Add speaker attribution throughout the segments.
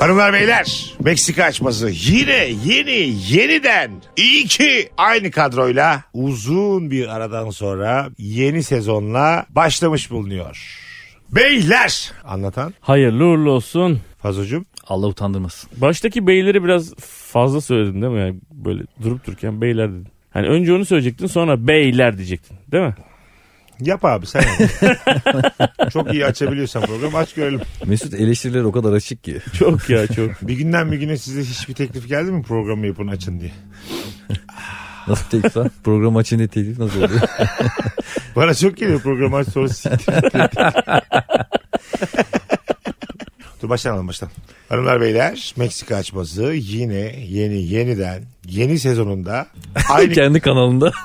Speaker 1: Hanımlar beyler Meksika açması yine yeni yeniden iyi ki aynı kadroyla uzun bir aradan sonra yeni sezonla başlamış bulunuyor. Beyler anlatan
Speaker 2: Hayırlı uğurlu olsun.
Speaker 1: Fazocuğum
Speaker 3: Allah utandırmasın.
Speaker 2: Baştaki beyleri biraz fazla söyledin değil mi? Yani böyle durup dururken beyler dedin. Hani önce onu söyleyecektin sonra beyler diyecektin değil mi?
Speaker 1: yap abi sen yap. Çok iyi açabiliyorsan programı aç görelim.
Speaker 3: Mesut eleştiriler o kadar açık ki.
Speaker 2: Çok ya çok.
Speaker 1: Bir günden bir güne size hiçbir teklif geldi mi programı yapın açın diye.
Speaker 3: Nasıl teklif lan? Program açınca teklif nasıl oluyor?
Speaker 1: Bana çok geliyor programı aç sonra siktir. Dur başlayalım baştan. Hanımlar beyler Meksika açması yine yeni yeniden yeni sezonunda aynı
Speaker 3: Kendi kanalında.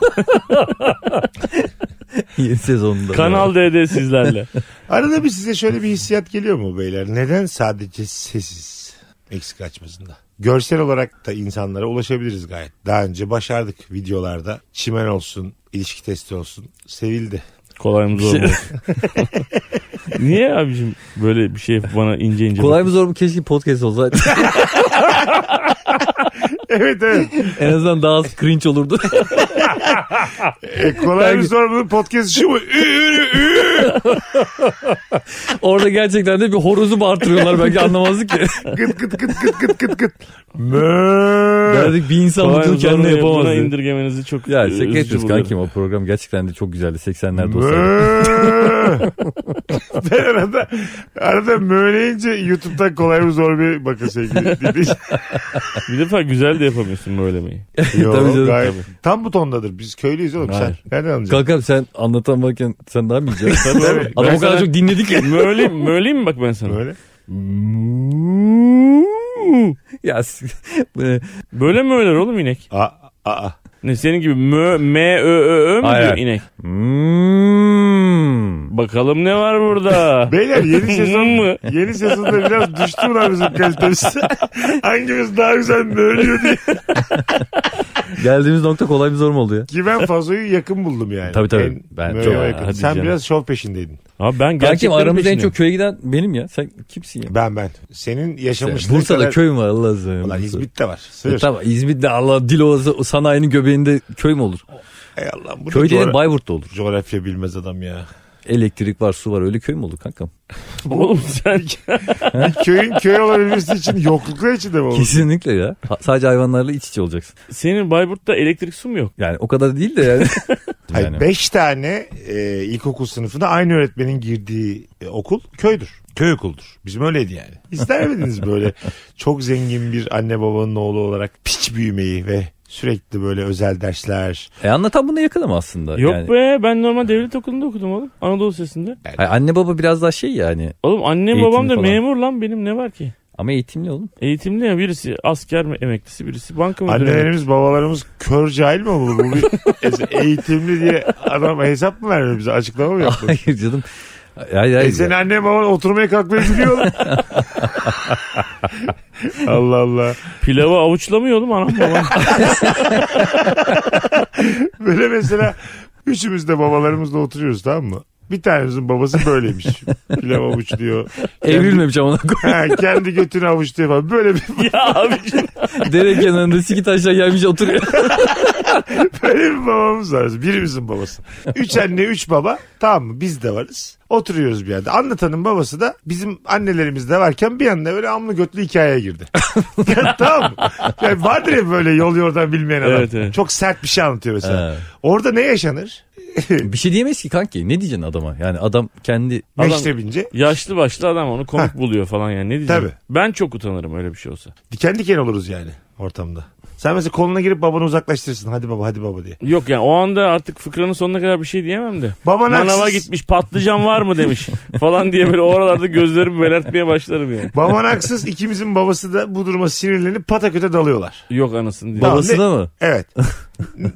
Speaker 3: Yeni sezonunda.
Speaker 2: Kanal DD sizlerle.
Speaker 1: Arada bir size şöyle bir hissiyat geliyor mu beyler? Neden sadece sessiz Meksika açmasında? Görsel olarak da insanlara ulaşabiliriz gayet. Daha önce başardık videolarda. Çimen olsun, ilişki testi olsun. Sevildi.
Speaker 2: Kolay mı
Speaker 3: şey-
Speaker 2: zor mu? Niye abicim böyle bir şey bana ince ince?
Speaker 3: Kolay mı zor mu? Keşke podcast olsaydı.
Speaker 1: Evet evet.
Speaker 3: en azından daha az cringe olurdu.
Speaker 1: E, kolay bir soru bunun podcast işi bu.
Speaker 3: Orada gerçekten de bir horozu bağırtırıyorlar belki anlamazdık ki.
Speaker 1: Gıt gıt gıt gıt gıt gıt gıt. Mö.
Speaker 3: Derdik bir insan
Speaker 2: Kolay
Speaker 3: bunu
Speaker 2: mı zor mu?
Speaker 3: kendine
Speaker 2: Buna
Speaker 3: yapamazdı.
Speaker 2: indirgemenizi çok
Speaker 3: Ya
Speaker 2: e,
Speaker 3: şaka
Speaker 2: üzücü
Speaker 3: etmiyoruz
Speaker 2: buluyorum.
Speaker 3: kankim o program gerçekten de çok güzeldi 80'lerde olsaydı.
Speaker 1: Mö. ben arada arada möleyince YouTube'dan kolay mı zor bir bakın sevgili dinleyici.
Speaker 2: Bir defa güzel de yapamıyorsun böylemeyi.
Speaker 1: Yok
Speaker 3: Tabii canım.
Speaker 1: gayet. Tam bu tondadır. Biz köylüyüz oğlum.
Speaker 2: Hayır.
Speaker 1: Sen nereden anlayacaksın?
Speaker 3: Kankam sen anlatan varken sen daha mı yiyeceksin?
Speaker 1: Tabii.
Speaker 3: Adam
Speaker 2: Ben
Speaker 3: o kadar
Speaker 2: sana-
Speaker 3: çok dinledi ki.
Speaker 2: Möleyim, möleyim mi bak ben sana?
Speaker 1: Böyle.
Speaker 3: ya s- bu ne?
Speaker 2: Böyle mi öler oğlum inek?
Speaker 1: Aa, aa.
Speaker 2: Ne senin gibi mö, m, ö, ö, ö mü
Speaker 3: Hayır.
Speaker 2: diyor inek?
Speaker 3: Hmm.
Speaker 2: Bakalım ne var burada?
Speaker 1: Beyler yeni sezon
Speaker 2: mı?
Speaker 1: Yeni sezonda biraz düştü ulan bizim kalitemiz. Hangimiz daha güzel mölüyor diye.
Speaker 3: Geldiğimiz nokta kolay mı zor mu oldu ya?
Speaker 1: Ki ben Fazo'yu yakın buldum yani.
Speaker 3: Tabii, tabii.
Speaker 1: En
Speaker 3: Ben
Speaker 1: mölüye
Speaker 3: çok-
Speaker 1: yakın.
Speaker 2: Hadi
Speaker 1: Sen
Speaker 2: canım.
Speaker 1: biraz şov peşindeydin.
Speaker 2: Abi ben gerçekten
Speaker 3: Kankim aramızda en çok köye giden benim ya. Sen kimsin ya?
Speaker 1: Ben ben. Senin yaşamışlığın
Speaker 3: Bursa'da
Speaker 1: kadar-
Speaker 3: köy mü var Allah azze?
Speaker 1: Ulan İzmit'te var.
Speaker 3: E,
Speaker 1: Sır.
Speaker 3: tamam İzmit'te Allah Dilovası sanayinin göbeğinde köy mü olur?
Speaker 1: Ey Allah'ım bu
Speaker 3: Köy
Speaker 1: ne
Speaker 3: değil
Speaker 1: coğra-
Speaker 3: Bayburt'ta olur.
Speaker 1: coğrafya bilmez adam ya.
Speaker 3: Elektrik var su var öyle köy mü olur kankam?
Speaker 2: Oğlum sen
Speaker 1: Köyün köy olabilmesi için yokluklar içinde mi olur?
Speaker 3: Kesinlikle ya. Ha- sadece hayvanlarla iç içe olacaksın.
Speaker 2: senin Bayburt'ta elektrik su mu yok?
Speaker 3: Yani o kadar değil de yani.
Speaker 1: Hayır,
Speaker 3: Yani
Speaker 1: beş tane e, ilkokul sınıfında aynı öğretmenin girdiği e, okul köydür. Köy okuldur. Bizim öyleydi yani. İster miydiniz böyle çok zengin bir anne babanın oğlu olarak piç büyümeyi ve sürekli böyle özel dersler.
Speaker 3: E anlatan bunu yakalama aslında.
Speaker 2: Yok
Speaker 3: yani,
Speaker 2: be ben normal devlet okulunda okudum oğlum. Anadolu Sesi'nde.
Speaker 3: Hayır, anne baba biraz daha şey yani.
Speaker 2: Oğlum annem
Speaker 3: Eğitimli
Speaker 2: babam da
Speaker 3: falan.
Speaker 2: memur lan benim ne var ki?
Speaker 3: Ama eğitimli oğlum.
Speaker 2: Eğitimli ya birisi asker mi emeklisi birisi banka müdürü.
Speaker 1: Annelerimiz babalarımız kör cahil mi olur? Bu bir e- eğitimli diye adam hesap mı vermiyor bize? Açıklama mı yaptı?
Speaker 3: hayır canım. Hayır hayır.
Speaker 1: E senin annen baban oturmaya kalkmayı biliyor oğlum. Allah Allah.
Speaker 2: Pilava avuçlamıyor oğlum anam babam.
Speaker 1: Böyle mesela üçümüz de babalarımızla oturuyoruz tamam mı? Bir tanemizin babası böyleymiş. Pilav avuçluyor.
Speaker 3: Evrilmemiş ama
Speaker 1: Ha, kendi götünü avuçluyor falan. Böyle bir,
Speaker 2: ya abicim.
Speaker 3: dere kenarında siki taşlar gelmiş oturuyor.
Speaker 1: böyle bir babamız var. Birimizin babası. Üç anne, üç baba. Tamam mı? Biz de varız. Oturuyoruz bir yerde. Anlatanın babası da bizim annelerimiz de varken bir anda böyle amlı götlü hikayeye girdi. Ya, tamam mı? Yani vardır ya böyle yol yordan bilmeyen adam.
Speaker 2: Evet, evet.
Speaker 1: Çok sert bir şey anlatıyor mesela.
Speaker 3: Evet.
Speaker 1: Orada ne yaşanır?
Speaker 3: bir şey diyemeyiz ki kanki. Ne diyeceksin adama? Yani adam kendi
Speaker 2: Adam-
Speaker 1: Meşte bince.
Speaker 2: Yaşlı başlı adam onu komik buluyor falan yani ne diyeceğim.
Speaker 1: Tabii.
Speaker 2: Ben çok utanırım öyle bir şey olsa.
Speaker 1: Diken diken oluruz yani ortamda. Sen mesela koluna girip babanı uzaklaştırırsın. Hadi baba hadi baba diye.
Speaker 2: Yok yani o anda artık fıkranın sonuna kadar bir şey diyemem de.
Speaker 1: Baban
Speaker 2: Manava
Speaker 1: haksız.
Speaker 2: gitmiş patlıcan var mı demiş falan diye böyle oralarda gözlerimi belertmeye başlarım yani.
Speaker 1: Baban haksız ikimizin babası da bu duruma sinirlenip pataköte dalıyorlar.
Speaker 2: Yok anasını diye.
Speaker 3: babasına mı?
Speaker 1: Evet.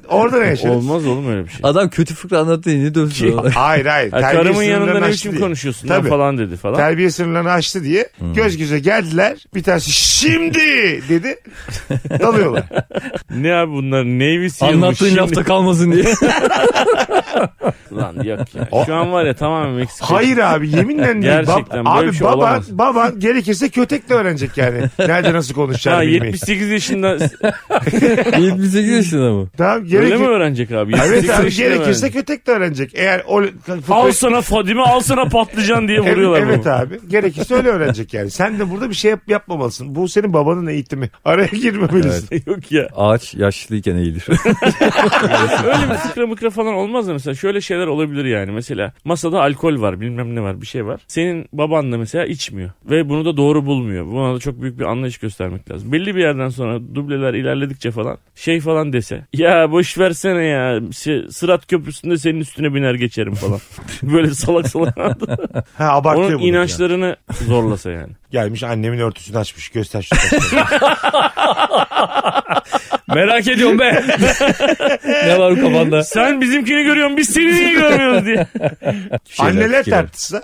Speaker 1: Orada ne yaşarız?
Speaker 2: Olmaz oğlum öyle bir şey.
Speaker 3: Adam kötü fıkra anlattı ne
Speaker 1: Şey
Speaker 3: dövsün ona?
Speaker 1: Hayır hayır.
Speaker 2: Ha,
Speaker 1: Terbiye
Speaker 2: karımın
Speaker 1: sınırlarını
Speaker 2: yanında ne
Speaker 1: aştı
Speaker 2: biçim
Speaker 1: diye.
Speaker 2: konuşuyorsun lan
Speaker 1: Tabii.
Speaker 2: falan dedi falan.
Speaker 1: Terbiye sınırlarını aştı diye göz göze geldiler. Bir tanesi şimdi dedi. Dalıyorlar.
Speaker 2: Ne abi bunlar Navy Seal'mış.
Speaker 3: Anlattığın
Speaker 2: Şimdi-
Speaker 3: lafta kalmasın diye.
Speaker 2: Lan yok ya. Şu an var ya tamamen Meksika.
Speaker 1: Hayır abi yeminle değil.
Speaker 2: Gerçekten,
Speaker 1: Bab- abi
Speaker 2: böyle bir şey
Speaker 1: baban,
Speaker 2: olamaz.
Speaker 1: baban gerekirse kötekle öğrenecek yani. Nerede nasıl
Speaker 2: Ha,
Speaker 1: konuşacağını bilmeyi.
Speaker 2: 78 yaşında
Speaker 3: 78 yaşında mı?
Speaker 1: Tamam, gerek-
Speaker 2: öyle mi öğrenecek abi?
Speaker 1: Evet
Speaker 2: 78
Speaker 1: abi
Speaker 2: yaşında
Speaker 1: gerekirse
Speaker 2: öğrenecek.
Speaker 1: kötekle öğrenecek. Eğer o...
Speaker 2: Al sana Fadime al sana patlıcan diye
Speaker 1: Evet,
Speaker 2: vuruyorlar.
Speaker 1: evet
Speaker 2: bunu.
Speaker 1: abi. Gerekirse öyle öğrenecek yani. Sen de burada bir şey yap- yapmamalısın. Bu senin babanın eğitimi. Araya girmemelisin.
Speaker 2: Yok ya.
Speaker 3: Ağaç yaşlıyken eğilir.
Speaker 2: Öyle bir fıkra mıkra falan olmaz da mesela şöyle şeyler olabilir yani. Mesela masada alkol var bilmem ne var bir şey var. Senin baban da mesela içmiyor ve bunu da doğru bulmuyor. Buna da çok büyük bir anlayış göstermek lazım. Belli bir yerden sonra dubleler ilerledikçe falan şey falan dese. Ya boş versene ya şey, Sırat Köprüsü'nde senin üstüne biner geçerim falan. Böyle salak salak.
Speaker 1: Ha abartıyor
Speaker 2: Onun
Speaker 1: bunu.
Speaker 2: inançlarını zorlasa yani.
Speaker 1: Gelmiş annemin örtüsünü açmış. Göster şu taşları.
Speaker 3: Merak ediyorum be. ne var bu kafanda?
Speaker 2: Sen bizimkini görüyorsun biz seni niye görmüyoruz diye.
Speaker 1: Anneler
Speaker 3: tertemiz.
Speaker 1: tartısı.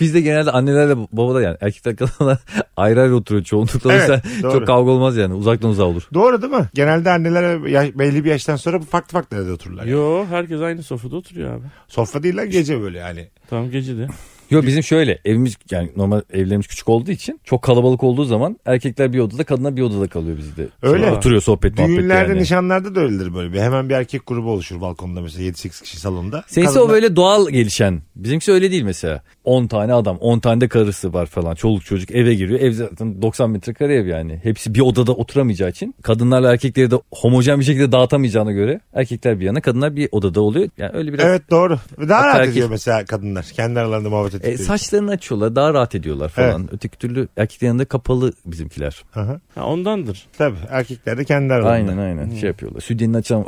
Speaker 3: Bizde genelde annelerle babalar yani erkekler kadınlar ayrı ayrı oturuyor. Çoğunlukla
Speaker 1: Evet,
Speaker 3: olursa
Speaker 1: doğru.
Speaker 3: çok kavga olmaz yani uzaktan uzağa olur.
Speaker 1: Doğru değil mi? Genelde anneler ya- belli bir yaştan sonra farklı farklı yerde otururlar. yani.
Speaker 2: Yo herkes aynı sofrada oturuyor abi.
Speaker 1: Sofra değil lan gece böyle yani.
Speaker 2: Tam gecede.
Speaker 3: Yok bizim şöyle evimiz yani normal evlerimiz küçük olduğu için çok kalabalık olduğu zaman erkekler bir odada kadınlar bir odada kalıyor bizde.
Speaker 1: Öyle.
Speaker 3: Sonra oturuyor sohbet muhabbet
Speaker 1: Düğünlerde
Speaker 3: yani.
Speaker 1: nişanlarda da öyledir böyle. Bir. Hemen bir erkek grubu oluşur balkonda mesela 7-8 kişi salonda.
Speaker 3: Seninse o
Speaker 1: Kadınlar-
Speaker 3: böyle doğal gelişen. Bizimkisi öyle değil mesela. 10 tane adam, 10 tane de karısı var falan. Çoluk çocuk eve giriyor. Ev zaten 90 metrekare ev yani. Hepsi bir odada oturamayacağı için kadınlarla erkekleri de homojen bir şekilde dağıtamayacağına göre erkekler bir yana, kadınlar bir odada oluyor. Yani öyle biraz
Speaker 1: Evet doğru. Daha
Speaker 3: Hatta
Speaker 1: rahat
Speaker 3: erkek-
Speaker 1: ediyor mesela kadınlar. Kendi aralarında muhabbet
Speaker 3: E,
Speaker 1: ediyor.
Speaker 3: saçlarını açıyorlar daha rahat ediyorlar falan. Öteki türlü erkeklerin yanında kapalı bizimkiler.
Speaker 1: Hı-hı.
Speaker 2: Ha, ondandır.
Speaker 1: Tabii erkekler de kendi aralarında.
Speaker 3: Aynen aynen
Speaker 2: Hmm.
Speaker 3: şey yapıyorlar. Südyenini açan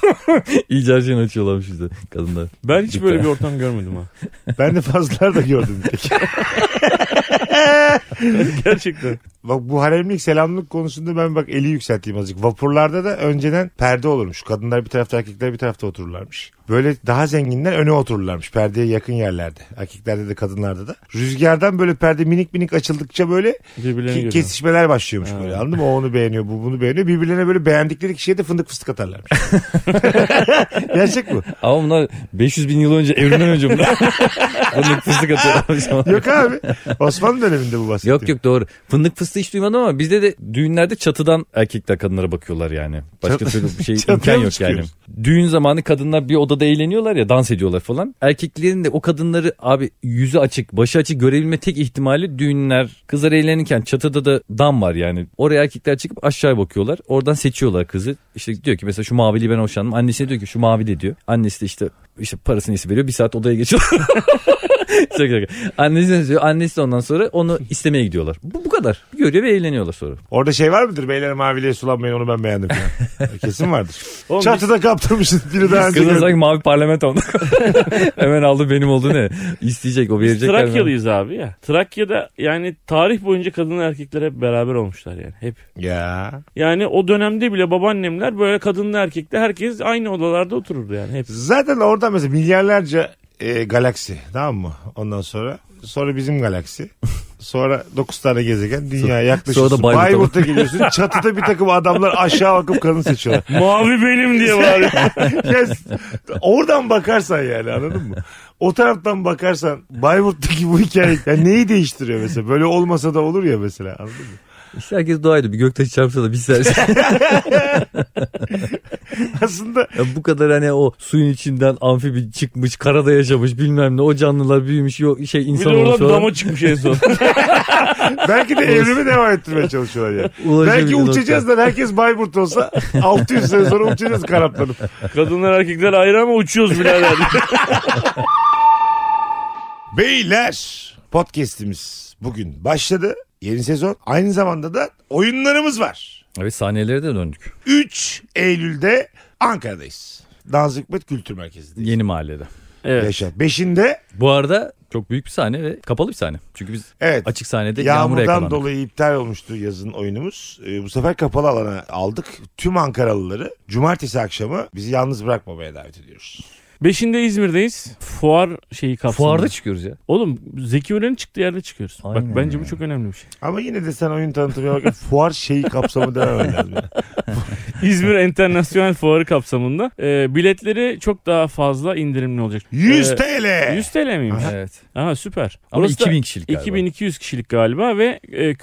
Speaker 3: İyice her şeyini açıyorlarmış bizde kadınlar.
Speaker 2: Ben hiç
Speaker 3: Bir
Speaker 2: böyle
Speaker 3: tane.
Speaker 2: bir ortam görmedim ha.
Speaker 1: Ben de fazlalar da gördüm bir tek.
Speaker 2: Gerçekten.
Speaker 1: Bak bu haremlik selamlık konusunda ben bak eli yükselteyim azıcık. Vapurlarda da önceden perde olurmuş. Kadınlar bir tarafta erkekler bir tarafta otururlarmış. Böyle daha zenginler öne otururlarmış perdeye yakın yerlerde. Erkeklerde de kadınlarda da. Rüzgardan böyle perde minik minik açıldıkça böyle
Speaker 2: Birbirlerini
Speaker 1: ki-
Speaker 2: görüyor.
Speaker 1: kesişmeler başlıyormuş
Speaker 2: Ha.
Speaker 1: böyle anladın mı? O onu beğeniyor bu bunu beğeniyor. Birbirlerine böyle beğendikleri kişiye de fındık fıstık atarlarmış. Gerçek bu.
Speaker 3: Ama bunlar 500 bin yıl önce evrimden önce bunlar. Bunun fıstık atıyorlarmış ama.
Speaker 1: Yok abi. Osmanlı döneminde bu bahsettiğim.
Speaker 3: Yok yok doğru. Fındık fıstığı hiç duymadım ama bizde de düğünlerde çatıdan erkekler kadınlara bakıyorlar yani. Başka türlü bir şey
Speaker 1: Çatıya
Speaker 3: imkan
Speaker 1: mı
Speaker 3: yok yani.
Speaker 1: çıkıyoruz?
Speaker 3: Düğün zamanı kadınlar bir odada eğleniyorlar ya dans ediyorlar falan. Erkeklerin de o kadınları abi yüzü açık başı açık görebilme tek ihtimali düğünler. Kızlar eğlenirken çatıda da dam var yani. Oraya erkekler çıkıp aşağıya bakıyorlar. Oradan seçiyorlar kızı. İşte diyor ki mesela şu maviliği ben hoşlandım. Annesine diyor ki şu mavili diyor. Annesi de işte işte parasını iyisi veriyor. Bir saat odaya geçiyor. Şaka şaka. Annesi ne diyor? Annesi de ondan sonra onu istemeye gidiyorlar. Bu, bu kadar. Görüyor ve eğleniyorlar sonra.
Speaker 1: Orada şey var mıdır? Beyler maviliğe sulanmayın onu ben beğendim. falan. Kesin vardır.
Speaker 2: Oğlum biz-
Speaker 1: Çatıda kaptırmışız biri daha önce.
Speaker 3: Kızın
Speaker 1: gördüm.
Speaker 3: sanki mavi parlamento. Hemen aldı benim oldu ne? İsteyecek o verecek.
Speaker 2: Trakyalıyız abi ya. Trakya'da yani tarih boyunca kadın erkekler hep beraber olmuşlar yani. Hep.
Speaker 1: Ya.
Speaker 2: Yani o dönemde bile babaannemler böyle kadınla erkekle herkes aynı odalarda otururdu yani hep.
Speaker 1: Zaten orada mesela milyarlarca e, galaksi tamam mı? Ondan sonra sonra bizim galaksi. Sonra 9 tane gezegen dünya yaklaşıyorsun.
Speaker 3: sonra da Bayburt'a-
Speaker 1: Bayburt'a geliyorsun. Çatıda bir takım adamlar aşağı bakıp kadın seçiyorlar.
Speaker 2: Mavi benim diye bağırıyor.
Speaker 1: Yes. Oradan bakarsan yani anladın mı? O taraftan bakarsan Bayburt'taki bu hikaye ya neyi değiştiriyor mesela? Böyle olmasa da olur ya mesela anladın mı?
Speaker 3: İşte herkes dua ediyor. Bir göktaşı çarpsa da bir serse.
Speaker 1: Aslında
Speaker 3: Ya bu kadar hani o suyun içinden amfibi çıkmış, karada yaşamış bilmem ne. O canlılar büyümüş, yok şey
Speaker 2: Bir de
Speaker 3: insan olmuş
Speaker 2: oradan
Speaker 3: falan.
Speaker 2: dama çıkmış en son.
Speaker 1: Belki de evrimi devam ettirmeye çalışıyorlar ya.
Speaker 3: Ulaşabilir
Speaker 1: Belki
Speaker 3: nokta.
Speaker 1: uçacağız da herkes Bayburt olsa 600 sene sonra uçacağız kanatlanıp.
Speaker 2: Kadınlar erkekler ayrı ama uçuyoruz birader.
Speaker 1: Beyler podcast'imiz bugün başladı. Yeni sezon. Aynı zamanda da oyunlarımız var.
Speaker 3: Evet sahnelere de döndük.
Speaker 1: 3 Eylül'de Ankara'dayız. Dans Hikmet Kültür Merkezi'ndeyiz.
Speaker 3: Yeni mahallede.
Speaker 2: evet.
Speaker 1: Yaşa. Beşinde
Speaker 3: Bu arada çok büyük bir sahne ve kapalı bir sahne. Çünkü biz
Speaker 1: evet
Speaker 3: açık sahnede yağmura
Speaker 1: Yağmurdan
Speaker 3: yakalandık.
Speaker 1: dolayı iptal olmuştu yazın oyunumuz. Ee, bu sefer kapalı alana aldık. Tüm Ankaralıları cumartesi akşamı bizi yalnız bırakmamaya davet ediyoruz.
Speaker 2: Beşinde İzmir'deyiz. Fuar şeyi kapsamında.
Speaker 3: Fuarda çıkıyoruz ya.
Speaker 2: Oğlum Zeki Müren'in çıktığı yerde çıkıyoruz.
Speaker 3: Aynen
Speaker 2: Bak bence
Speaker 3: ya.
Speaker 2: bu çok önemli bir şey.
Speaker 1: Ama yine de sen oyun tanıtımına bak. Fuar şeyi kapsamı dememen lazım.
Speaker 2: İzmir Enternasyonel Fuarı kapsamında e, biletleri çok daha fazla indirimli olacak.
Speaker 1: 100
Speaker 2: E,
Speaker 1: TL.
Speaker 2: 100 TL miymiş?
Speaker 3: Evet.
Speaker 2: Aha süper.
Speaker 3: Eh. Ama
Speaker 2: Burası da
Speaker 3: 2000 kişilik galiba.
Speaker 2: 2200 kişilik galiba ve e,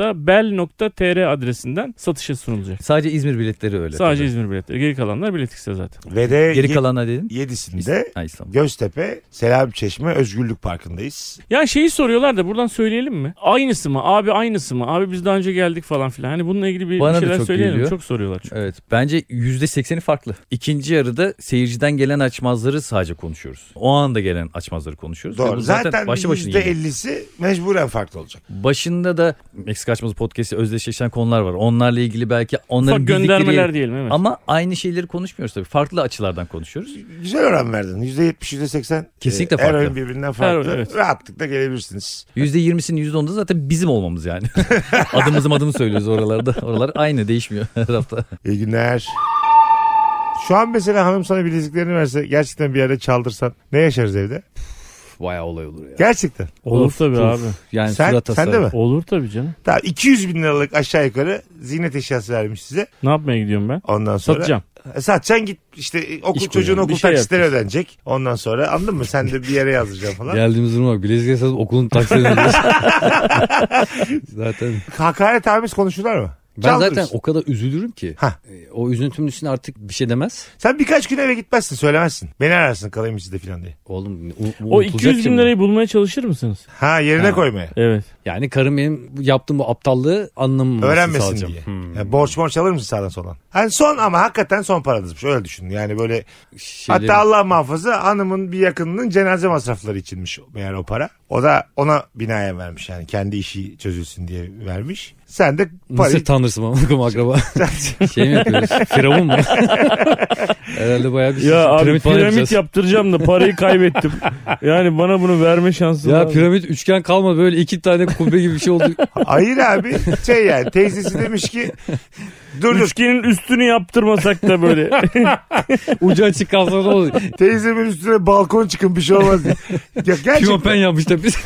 Speaker 2: kültürsanat.izmir.bel.tr adresinden satışa sunulacak.
Speaker 3: Sadece İzmir biletleri öyle.
Speaker 2: Sadece
Speaker 3: Tabii.
Speaker 2: İzmir biletleri. Geri kalanlar biletikse zaten.
Speaker 1: Ve de
Speaker 3: Geri
Speaker 1: ye-
Speaker 3: kalanlar dedin.
Speaker 1: yedisinde
Speaker 3: Ha, İstanbul.
Speaker 1: Göztepe, Selami Çeşme, Özgürlük Parkı'ndayız.
Speaker 2: Ya şeyi soruyorlar da buradan söyleyelim mi? Aynısı mı? Abi aynısı mı? Abi biz daha önce geldik falan filan. Hani bununla ilgili bir
Speaker 3: Bana da
Speaker 2: şeyler
Speaker 3: çok
Speaker 2: söyleyelim.
Speaker 3: geliyor.
Speaker 2: Çok soruyorlar. çünkü.
Speaker 3: Evet bence %80'i farklı. İkinci yarıda seyirciden gelen açmazları sadece konuşuyoruz. O anda gelen açmazları konuşuyoruz. Ve
Speaker 1: Doğru.
Speaker 3: bu
Speaker 1: Zaten,
Speaker 3: başlı
Speaker 1: bir
Speaker 3: başına iyi.
Speaker 1: %50'si mecburen farklı olacak.
Speaker 3: Başında da Meksika Açmazı Podcast'i özdeşleşen konular var. Onlarla ilgili belki onların
Speaker 2: Ufak göndermeler
Speaker 3: bildikleri...
Speaker 2: diyelim evet.
Speaker 3: Ama aynı şeyleri konuşmuyoruz tabii. Farklı açılardan konuşuyoruz.
Speaker 1: Güzel oran verdin. %70, %80.
Speaker 3: Kesinlikle
Speaker 1: e,
Speaker 3: farklı.
Speaker 1: Her oyun birbirinden farklı.
Speaker 2: Her oyun, evet.
Speaker 1: Rahatlıkla gelebilirsiniz.
Speaker 3: %20'sinin %10'u zaten bizim olmamız yani. Adımızı adımı söylüyoruz oralarda. Oralar aynı değişmiyor her hafta.
Speaker 1: İyi günler. Şu an mesela hanım sana bileziklerini verse gerçekten bir yerde çaldırsan ne yaşarız evde?
Speaker 3: Bayağı olay olur ya.
Speaker 1: Gerçekten.
Speaker 2: Olur
Speaker 3: Of,
Speaker 2: tabii
Speaker 3: of.
Speaker 2: abi.
Speaker 3: Yani
Speaker 1: Sen-
Speaker 3: surat
Speaker 1: sen
Speaker 3: hasarı.
Speaker 1: de mi?
Speaker 2: Olur tabii canım.
Speaker 1: Tamam 200 bin liralık aşağı yukarı ziynet eşyası vermiş size.
Speaker 2: Ne yapmaya gidiyorum ben?
Speaker 1: Ondan sonra.
Speaker 2: Satacağım.
Speaker 1: E, Satacaksın git işte e, okul
Speaker 2: İş
Speaker 1: çocuğun
Speaker 2: koyacağım.
Speaker 1: okul
Speaker 2: Bir şey
Speaker 1: taksitleri ödenecek. Ondan sonra anladın mı? Sen de bir yere yazdıracaksın falan.
Speaker 3: Geldiğimiz duruma bak. Bilezik esas okulun taksilerini Zaten.
Speaker 1: Hakaret hamiz konuşurlar mı?
Speaker 3: Ben
Speaker 1: Çaldırırsın.
Speaker 3: zaten o kadar üzülürüm ki.
Speaker 1: Hah.
Speaker 3: E, O üzüntümün üstüne artık bir şey demez.
Speaker 1: Sen birkaç gün eve gitmezsin söylemezsin. Beni ararsın kalayım sizde falan diye.
Speaker 3: Oğlum u-
Speaker 2: O
Speaker 3: unutulacak
Speaker 2: 200 bin
Speaker 3: şimdi.
Speaker 2: lirayı bulmaya çalışır mısınız?
Speaker 1: Ha yerine
Speaker 3: Ha.
Speaker 1: koymaya.
Speaker 2: Evet.
Speaker 3: Yani karım benim bu- yaptığım bu aptallığı anlamamasını
Speaker 1: Öğrenmesin
Speaker 3: sağlayacağım.
Speaker 1: diye.
Speaker 3: Hmm.
Speaker 1: Yani borç borç alır mısın sağdan soldan? Hani son ama hakikaten son paranızmış öyle düşün. Yani böyle
Speaker 3: Şeyleri-
Speaker 1: hatta Allah muhafaza hanımın bir yakınının cenaze masrafları içinmiş meğer o para. O da ona binaya vermiş yani kendi işi çözülsün diye vermiş. Sen de parayı
Speaker 3: Mısır tanrısı mı? Bakın akraba. şey mi yapıyoruz? Firavun mu? Herhalde bayağı bir şey-
Speaker 2: Ya abi piramit,
Speaker 3: falan yapacağız.
Speaker 2: yaptıracağım da parayı kaybettim. yani bana bunu verme şansı var
Speaker 3: Ya
Speaker 2: mı?
Speaker 3: piramit üçgen kalma böyle iki tane kubbe gibi bir şey oldu.
Speaker 1: Hayır abi şey yani teyzesi demiş ki dur dur
Speaker 2: Üçgenin üstünü yaptırmasak da böyle.
Speaker 3: Ucu açık kalsa ne olur?
Speaker 1: teyzemin üstüne balkon çıkın bir şey olmaz diye. Ya
Speaker 3: Pimapen
Speaker 1: gerçekten
Speaker 3: yapmış da biz.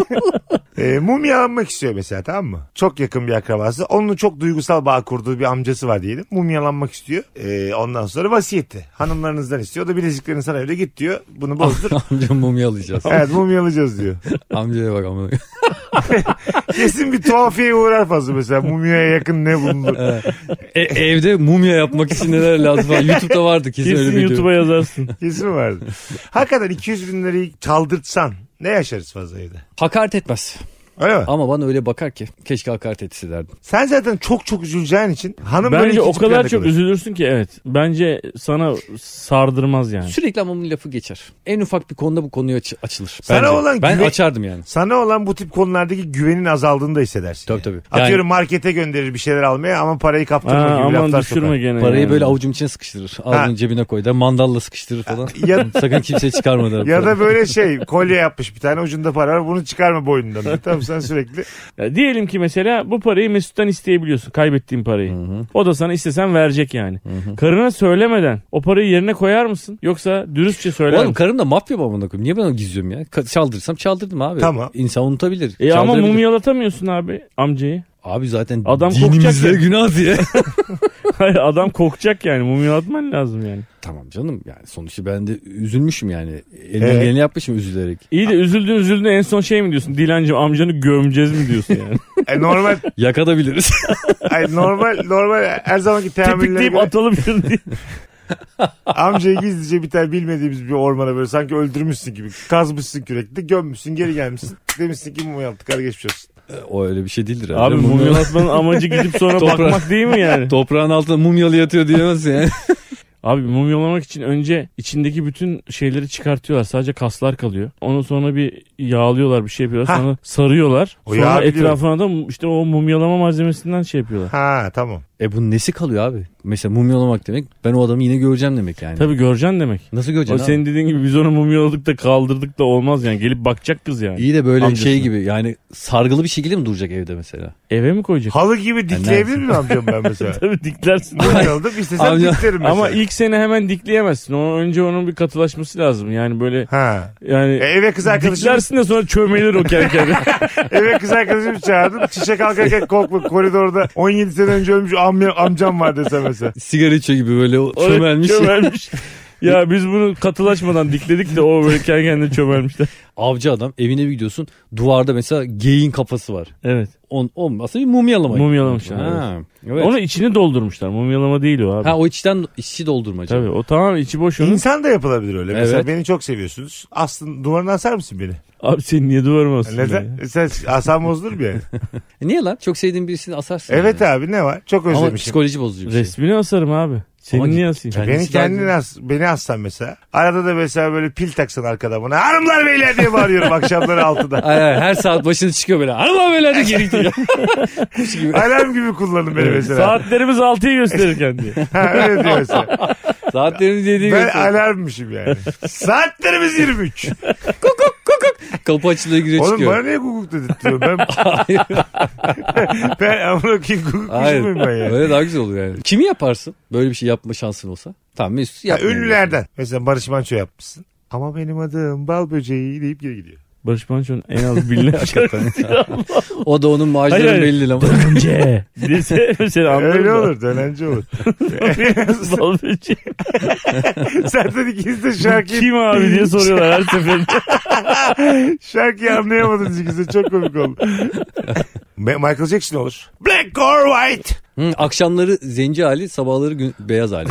Speaker 1: e, mum yalanmak istiyor mesela tamam mı? Çok yakın bir akrabası. Onun çok duygusal bağ kurduğu bir amcası var diyelim. Mum yalanmak istiyor. E, ondan sonra vasiyeti. Hanımlarınızdan istiyor. O da bileziklerini sana öyle git diyor. Bunu bozdur.
Speaker 3: Amca mumya alacağız.
Speaker 1: evet mum yalayacağız diyor.
Speaker 3: Amcaya bak amına.
Speaker 1: Kesin bir tuhafiyeye uğrar fazla mesela. Mumyaya yakın ne bulunur?
Speaker 3: E, evde mumya yapmak için neler lazım falan. Youtube'da vardı kesin, öyle
Speaker 2: Kesin
Speaker 3: bir
Speaker 2: YouTube'a yazarsın.
Speaker 1: Kesin vardı. Hakikaten 200 bin lirayı çaldırtsan ne yaşarız fazla evde?
Speaker 3: Hakaret etmez.
Speaker 1: Öyle mi?
Speaker 3: Ama bana öyle bakar ki. Keşke hakaret etse derdim.
Speaker 1: Sen zaten çok çok üzüleceğin için hanım böyle
Speaker 2: Bence o
Speaker 1: ikinci planda
Speaker 2: kadar çok
Speaker 1: kalır.
Speaker 2: üzülürsün ki evet. Bence sana sardırmaz yani.
Speaker 3: Sürekli ama bunun lafı geçer. En ufak bir konuda bu konuya aç- açılır.
Speaker 1: Sana
Speaker 3: Bence.
Speaker 1: olan
Speaker 3: ben
Speaker 1: güven-
Speaker 3: açardım yani.
Speaker 1: Sana olan bu tip konulardaki güvenin azaldığını da hissedersin.
Speaker 3: Tabii tabii.
Speaker 1: Atıyorum markete gönderir bir şeyler almaya ama parayı
Speaker 2: Aa,
Speaker 1: kaptırma gibi
Speaker 2: aman
Speaker 1: laflar
Speaker 2: düşürme
Speaker 1: sokar.
Speaker 2: gene.
Speaker 3: Parayı
Speaker 2: yani.
Speaker 3: böyle avucum içine sıkıştırır. Al
Speaker 1: Hmm. Ha.
Speaker 3: bunu cebine koy der. Mandalla sıkıştırır falan.
Speaker 1: Ya-
Speaker 3: Sakın kimseye çıkarma der.
Speaker 1: Ya da böyle şey kolye yapmış bir tane ucunda para var bunu çıkarma boynundan. tamam sen sürekli.
Speaker 2: Ya diyelim ki mesela bu parayı Mesut'tan isteyebiliyorsun. Kaybettiğin parayı. O da sana istesen verecek yani. Karına söylemeden o parayı yerine koyar mısın? Yoksa dürüstçe söyler
Speaker 3: Oğlum
Speaker 2: misin?
Speaker 3: karım da mafya mı amına koyayım? Niye ben onu gizliyorum ya? Ka- Çaldırırsam çaldırdım abi.
Speaker 1: Tamam.
Speaker 3: İnsan unutabilir.
Speaker 2: E ama
Speaker 3: Çaldırabilir.
Speaker 2: mumyalatamıyorsun abi amcayı.
Speaker 3: Abi zaten
Speaker 2: Adam
Speaker 3: dinimizde
Speaker 2: korkacak ya.
Speaker 3: günah diye.
Speaker 2: Hayır adam kokacak yani mumyalatman lazım yani.
Speaker 3: tamam canım yani sonuçta ben de üzülmüşüm yani. Elimden
Speaker 1: Ee?
Speaker 3: geleni yapmışım üzülerek.
Speaker 2: İyi de üzüldün üzüldün en son şey mi diyorsun? Dilancım amcanı gömeceğiz mi diyorsun yani?
Speaker 1: E, normal
Speaker 3: Yakadabiliriz.
Speaker 1: ay, normal normal her zamanki teamüllere
Speaker 2: Tipikleyip
Speaker 1: göre
Speaker 2: atalım diye.
Speaker 1: amcayı gizlice bir tane bilmediğimiz bir ormana böyle sanki öldürmüşsün gibi kazmışsın kürekli gömmüşsün geri gelmişsin demişsin ki mumu yaptık hadi geçmiş olsun.
Speaker 3: o öyle bir şey değildir.
Speaker 2: Abi
Speaker 3: Mumya-
Speaker 2: mumyalatmanın amacı gidip sonra
Speaker 3: Toprağa-
Speaker 2: bakmak değil mi yani?
Speaker 3: Toprağın altında mumyalı yatıyor diyemezsin yani.
Speaker 2: Abi mumyalamak için önce içindeki bütün şeyleri çıkartıyorlar. Sadece kaslar kalıyor. Ondan sonra bir yağlıyorlar bir şey yapıyorlar.
Speaker 1: Hah.
Speaker 2: Sonra sarıyorlar.
Speaker 1: O yağı
Speaker 2: sonra
Speaker 1: biliyorum.
Speaker 2: etrafına da işte o mumyalama malzemesinden şey yapıyorlar.
Speaker 1: Ha tamam.
Speaker 3: E bunun nesi kalıyor abi? Mesela mumyalamak demek ben o adamı yine göreceğim demek yani.
Speaker 2: Tabii göreceksin demek.
Speaker 3: Nasıl
Speaker 2: O
Speaker 3: göreceğim? abi?
Speaker 2: senin dediğin gibi biz onu mumyaladık da kaldırdık da olmaz yani. Gelip bakacak kız yani.
Speaker 3: İyi de böyle
Speaker 2: Amcasına.
Speaker 3: şey gibi yani sargılı bir şekilde mi duracak evde mesela?
Speaker 2: Eve mi koyacak?
Speaker 1: Halı gibi dikleyebilir miyim amcam ben mesela?
Speaker 2: Tabii diklersin.
Speaker 1: Mumyaladım istesem
Speaker 3: Amca-
Speaker 1: diklerim mesela.
Speaker 2: Ama ilk seni hemen dikleyemezsin. Onun önce onun bir katılaşması lazım. Yani böyle
Speaker 1: Ha.
Speaker 2: yani
Speaker 1: E, eve kız arkadaşım
Speaker 2: diklersin de sonra çömelir o kendi kendine.
Speaker 1: eve kız arkadaşım çağırdım. Çiçek kalkarken korkma koridorda 17 sene önce ölmüş amca, amcam var desem mesela.
Speaker 3: Sigara içiyor gibi böyle o-
Speaker 2: O
Speaker 3: çömelmiş.
Speaker 2: çömelmiş. ya biz bunu katılaşmadan dikledik de o böyle kendi kendine çömelmişler.
Speaker 3: Avcı adam evine bir gidiyorsun duvarda mesela geyin kafası var.
Speaker 2: Evet.
Speaker 3: On, on aslında bir mumyalama.
Speaker 2: Mumyalamışlar,
Speaker 3: Ha, evet.
Speaker 2: Onu içini doldurmuşlar. Mumyalama değil o abi.
Speaker 3: ha o içten içi doldurmacı.
Speaker 2: Tabii o tamam içi boş onun.
Speaker 1: İnsan da yapılabilir öyle. Mesela
Speaker 3: Evet.
Speaker 1: beni çok seviyorsunuz. Aslında duvarına asar mısın beni?
Speaker 2: Abi sen niye duvarıma asıyorsun?
Speaker 1: Neden? E,
Speaker 2: beni
Speaker 1: Sen asan bozulur mu yani?
Speaker 3: E niye lan? Çok sevdiğin birisini asarsın.
Speaker 1: evet
Speaker 3: yani.
Speaker 1: abi ne var? Çok
Speaker 3: Ama
Speaker 1: özlemişim.
Speaker 3: psikoloji bozucu
Speaker 2: ya?
Speaker 3: bir şey.
Speaker 2: Resmini asarım abi.
Speaker 3: Ama
Speaker 2: Seni niye
Speaker 3: git-
Speaker 2: asayım?
Speaker 3: Kendisi
Speaker 1: Beni
Speaker 3: daha-
Speaker 1: kendin as, beni assan mesela. Arada da mesela böyle pil taksan arkada bana. Hanımlar beyler diye bağırıyorum akşamları altıda.
Speaker 3: Ay, ay, her saat başına çıkıyor böyle. Hanım böyle de geri gidiyor. Kuş gibi.
Speaker 1: Alarm gibi kullanın beni mesela.
Speaker 2: Saatlerimiz 6'yı gösterirken diye.
Speaker 1: ha, öyle diyor mesela.
Speaker 3: Saatlerimiz dediği
Speaker 1: Ben
Speaker 3: gibi.
Speaker 1: alarmmışım yani. Saatlerimiz 23.
Speaker 3: Kapı açılıyor giriyor
Speaker 1: Oğlum
Speaker 3: çıkıyor.
Speaker 1: bana niye guguk dedirtiyor? Ben, ben amına koyayım guguk
Speaker 3: Hayır.
Speaker 1: muyum ben yani?
Speaker 3: Öyle daha güzel oluyor yani. Kimi yaparsın? Böyle bir şey yapma şansın olsa. Tamam Mesut
Speaker 1: Ya,
Speaker 3: yap.
Speaker 1: ünlülerden. Mesela Barış Manço yapmışsın. Ama benim adım bal böceği deyip geri gidiyor.
Speaker 2: Barış Manço'nun en az bilinen şarkısı.
Speaker 3: O da onun
Speaker 2: Hayır,
Speaker 3: maaşları
Speaker 2: hayır.
Speaker 3: belli lan.
Speaker 2: Önce. Dese mesela anlarım
Speaker 1: Öyle
Speaker 2: da.
Speaker 1: olur. Dönence olur.
Speaker 2: Bal böceği.
Speaker 1: Zaten ikiniz de şarkıyı
Speaker 2: Kim abi diye soruyorlar her seferinde.
Speaker 1: Şarkıyı anlayamadınız ikisi de çok komik oldu. Ma- Michael Jackson olur. Black or white.
Speaker 3: Hı, akşamları zenci hali, sabahları gün- beyaz hali.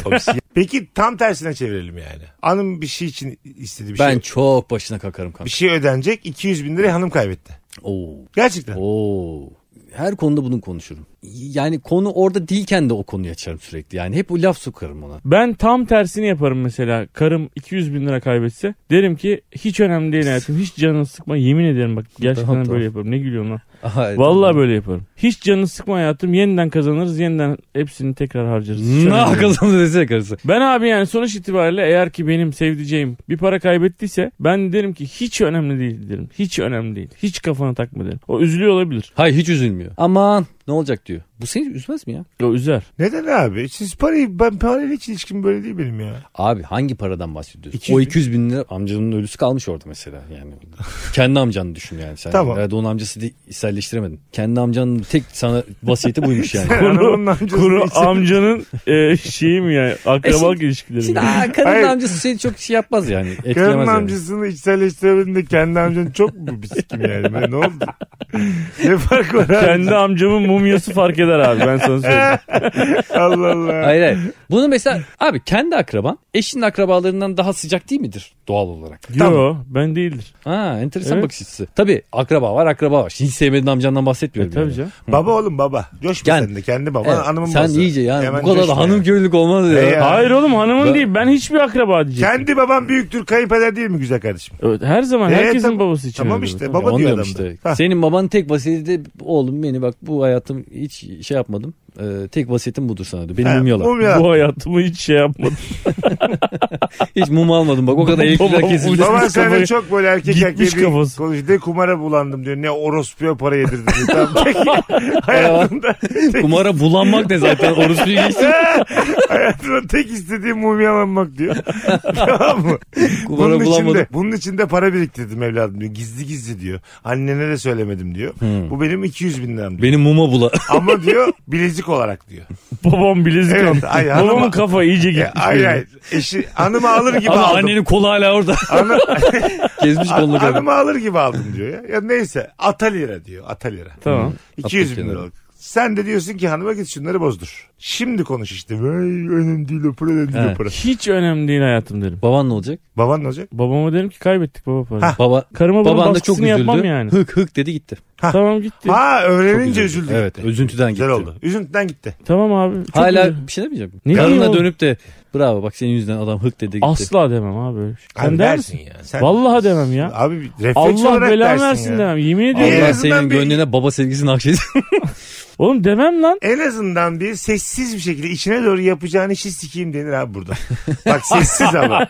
Speaker 1: Peki tam tersine çevirelim yani. Hanım bir şey için istedi bir
Speaker 3: ben
Speaker 1: şey.
Speaker 3: çok başına kakarım kanka.
Speaker 1: Bir şey ödenecek 200 bin lirayı hanım kaybetti.
Speaker 3: Oo.
Speaker 1: Gerçekten.
Speaker 3: Oo. Her konuda bunu konuşurum. Yani konu orada değilken de o konuyu açarım sürekli. Yani hep o laf sokarım ona.
Speaker 2: Ben tam tersini yaparım mesela. Karım 200 bin lira kaybetse derim ki hiç önemli değil hayatım. Hiç canını sıkma yemin ederim bak gerçekten
Speaker 3: Tamam, tamam.
Speaker 2: böyle yaparım. Ne gülüyorsun lan?
Speaker 3: Aha, evet,
Speaker 2: Vallahi
Speaker 3: tamam.
Speaker 2: böyle yaparım. Hiç canını sıkma hayatım. Yeniden kazanırız. Yeniden hepsini tekrar harcarız. Hiç
Speaker 3: Ne
Speaker 2: önemli değil.
Speaker 3: akıllı desene karısı.
Speaker 2: Ben abi yani sonuç itibariyle eğer ki benim sevdiceğim bir para kaybettiyse ben derim ki hiç önemli değil derim. Hiç önemli değil. Hiç kafana takma derim. O üzülüyor olabilir.
Speaker 3: Hayır hiç üzülmüyor. Aman ne olacak diyor. Bu seni üzmez mi ya?
Speaker 2: O üzer.
Speaker 1: Neden abi? Siz parayı ben parayla hiç ilişkim böyle değil benim ya.
Speaker 3: Abi hangi paradan bahsediyorsun?
Speaker 1: 200
Speaker 3: o
Speaker 1: bin.
Speaker 3: 200 bin lira amcanın ölüsü kalmış orada mesela. Yani kendi amcanı düşün yani. Sen
Speaker 1: Tamam.
Speaker 3: herhalde onun amcası de içselleştiremedin. Kendi amcanın tek sana vasiyeti buymuş yani.
Speaker 1: Hanımın amcası
Speaker 2: Kuru
Speaker 1: için-
Speaker 2: amcanın e, şeyi mi yani akrabalık ilişkileri mi?
Speaker 3: Şimdi aa, karının
Speaker 1: Hayır.
Speaker 3: amcası seni çok şey yapmaz yani. Etkilemez
Speaker 1: Karının
Speaker 3: yani.
Speaker 1: amcasını içselleştiremedin de kendi amcanın çok mu bir sikim yani? Ben, ne oldu? ne fark var abi?
Speaker 2: Kendi amcamın mumyası fark eder abi ben sana söyleyeyim.
Speaker 1: Allah Allah.
Speaker 3: Hayır hayır. Bunu mesela abi kendi akraban eşinin akrabalarından daha sıcak değil midir doğal olarak?
Speaker 1: E,
Speaker 2: Yo ben değildir. E,
Speaker 3: Ha enteresan
Speaker 2: Evet.
Speaker 3: bakış açısı. Tabii akraba var akraba var. Hiç sevmediğin amcandan bahsetmiyorum.
Speaker 1: E,
Speaker 3: yani.
Speaker 2: Tabii canım.
Speaker 1: Baba oğlum baba. Coşma
Speaker 3: Yani-
Speaker 1: sen de kendi baban
Speaker 3: Evet,
Speaker 1: hanımın
Speaker 3: sen
Speaker 1: babası.
Speaker 3: iyice yani
Speaker 1: Hemen
Speaker 3: bu kadar
Speaker 1: coşma
Speaker 3: da hanım
Speaker 1: yani.
Speaker 3: köylülük olmaz ya.
Speaker 1: E ya.
Speaker 2: Hayır oğlum hanımın
Speaker 3: Ben-
Speaker 2: değil ben hiçbir akraba diyeceğim.
Speaker 1: Kendi babam büyüktür kayınpeder değil mi güzel kardeşim?
Speaker 2: Evet, her zaman
Speaker 1: E,
Speaker 2: herkesin
Speaker 1: tamam.
Speaker 2: babası için.
Speaker 1: Tamam
Speaker 2: öyle
Speaker 1: işte,
Speaker 2: değil mi?
Speaker 1: baba
Speaker 3: Onu
Speaker 1: diyor
Speaker 3: diyorum
Speaker 1: adam da.
Speaker 3: işte.
Speaker 1: Ha.
Speaker 3: Senin baban tek vasiyeti de oğlum beni bak bu hayatım hiç şey yapmadım. Ee, tek vasiyetim budur sana diyor. Beni
Speaker 1: Ha,
Speaker 3: mumyala.
Speaker 1: mumyala.
Speaker 2: Bu hayatımı hiç şey yapmadım.
Speaker 3: Hiç mum almadım bak o kadar
Speaker 2: Babam-
Speaker 3: elektrikler kesildi.
Speaker 2: Babam-
Speaker 1: Baban
Speaker 2: Gitmiş
Speaker 1: sen de
Speaker 2: kafayı-
Speaker 1: çok böyle erkek
Speaker 2: Gitmiş
Speaker 1: erkeğe bir
Speaker 2: kafası.
Speaker 1: konuş. De kumara bulandım diyor. Ne orospuya para yedirdi diyor. Tamam, peki. hayatımda,
Speaker 3: Kumara bulanmak ne zaten orospuyu geçti.
Speaker 1: hayatımda tek istediğim mumyalanmak diyor. tamam mı?
Speaker 3: Kumara
Speaker 1: bunun içinde,
Speaker 3: bulamadım.
Speaker 1: bunun içinde para biriktirdim evladım diyor. Gizli gizli diyor. Annene de söylemedim diyor.
Speaker 3: Hmm.
Speaker 1: Bu benim 200 bin liram diyor.
Speaker 3: Beni muma bula.
Speaker 1: Ama diyor bilezik olarak diyor.
Speaker 2: Babam bilezik
Speaker 1: Evet,
Speaker 2: aldı.
Speaker 1: ay, hanım- E,
Speaker 2: Babamın kafa iyice
Speaker 1: Ya,
Speaker 2: gitmiş.
Speaker 1: hayır
Speaker 2: benim.
Speaker 1: hayır. Eşi, hanımı alır gibi
Speaker 3: Ama
Speaker 1: aldım.
Speaker 3: annenin kolu hala orada.
Speaker 1: Hanım-
Speaker 3: Gezmiş kolunu kadar.
Speaker 1: Hanımı alır gibi aldım diyor ya. Ya neyse atalira diyor atalira.
Speaker 2: Tamam.
Speaker 1: 200 bin
Speaker 3: Attık
Speaker 1: liralık. Sen de diyorsun ki hanıma git şunları bozdur. Şimdi konuş işte. Vay önemli değil o para önemli değil o
Speaker 3: He.
Speaker 1: para.
Speaker 2: Hiç önemli değil hayatım derim.
Speaker 3: Baban ne olacak?
Speaker 1: Baban ne olacak?
Speaker 2: Babama derim ki kaybettik baba parayı.
Speaker 3: Baba
Speaker 2: Karıma bunun
Speaker 3: baban da çok
Speaker 2: baskısını
Speaker 3: üzüldü.
Speaker 2: yapmam yani.
Speaker 3: Hık hık dedi gitti.
Speaker 2: Tamam gitti.
Speaker 1: Ha
Speaker 3: Çok
Speaker 1: öğrenince üzüldü.
Speaker 3: Evet
Speaker 1: gitti.
Speaker 3: üzüntüden gitti.
Speaker 1: Güzel oldu. Üzüntüden gitti.
Speaker 2: Tamam abi. çok
Speaker 3: Hala
Speaker 2: üzüldüm.
Speaker 3: bir şey demeyecek mi?
Speaker 2: Ne diyeyim
Speaker 3: Karına
Speaker 2: oğlum?
Speaker 3: dönüp de bravo bak senin yüzünden adam hık dedi gitti.
Speaker 2: Asla demem abi öyle bir şey.
Speaker 1: Abi
Speaker 2: Sen der misin?
Speaker 1: ya. Sen,
Speaker 2: Vallahi demem ya.
Speaker 1: Abi refleks
Speaker 2: Allah
Speaker 1: olarak
Speaker 2: belanı
Speaker 1: dersin
Speaker 2: versin
Speaker 1: ya.
Speaker 2: demem. Yemin ediyorum.
Speaker 1: en
Speaker 3: Allah
Speaker 1: azından
Speaker 3: senin
Speaker 1: bir-
Speaker 3: gönlüne baba sevgisi nakşetsin.
Speaker 2: Oğlum demem lan.
Speaker 1: En azından bir sessiz bir şekilde içine doğru yapacağın işi sikeyim denir abi burada. bak sessiz ama.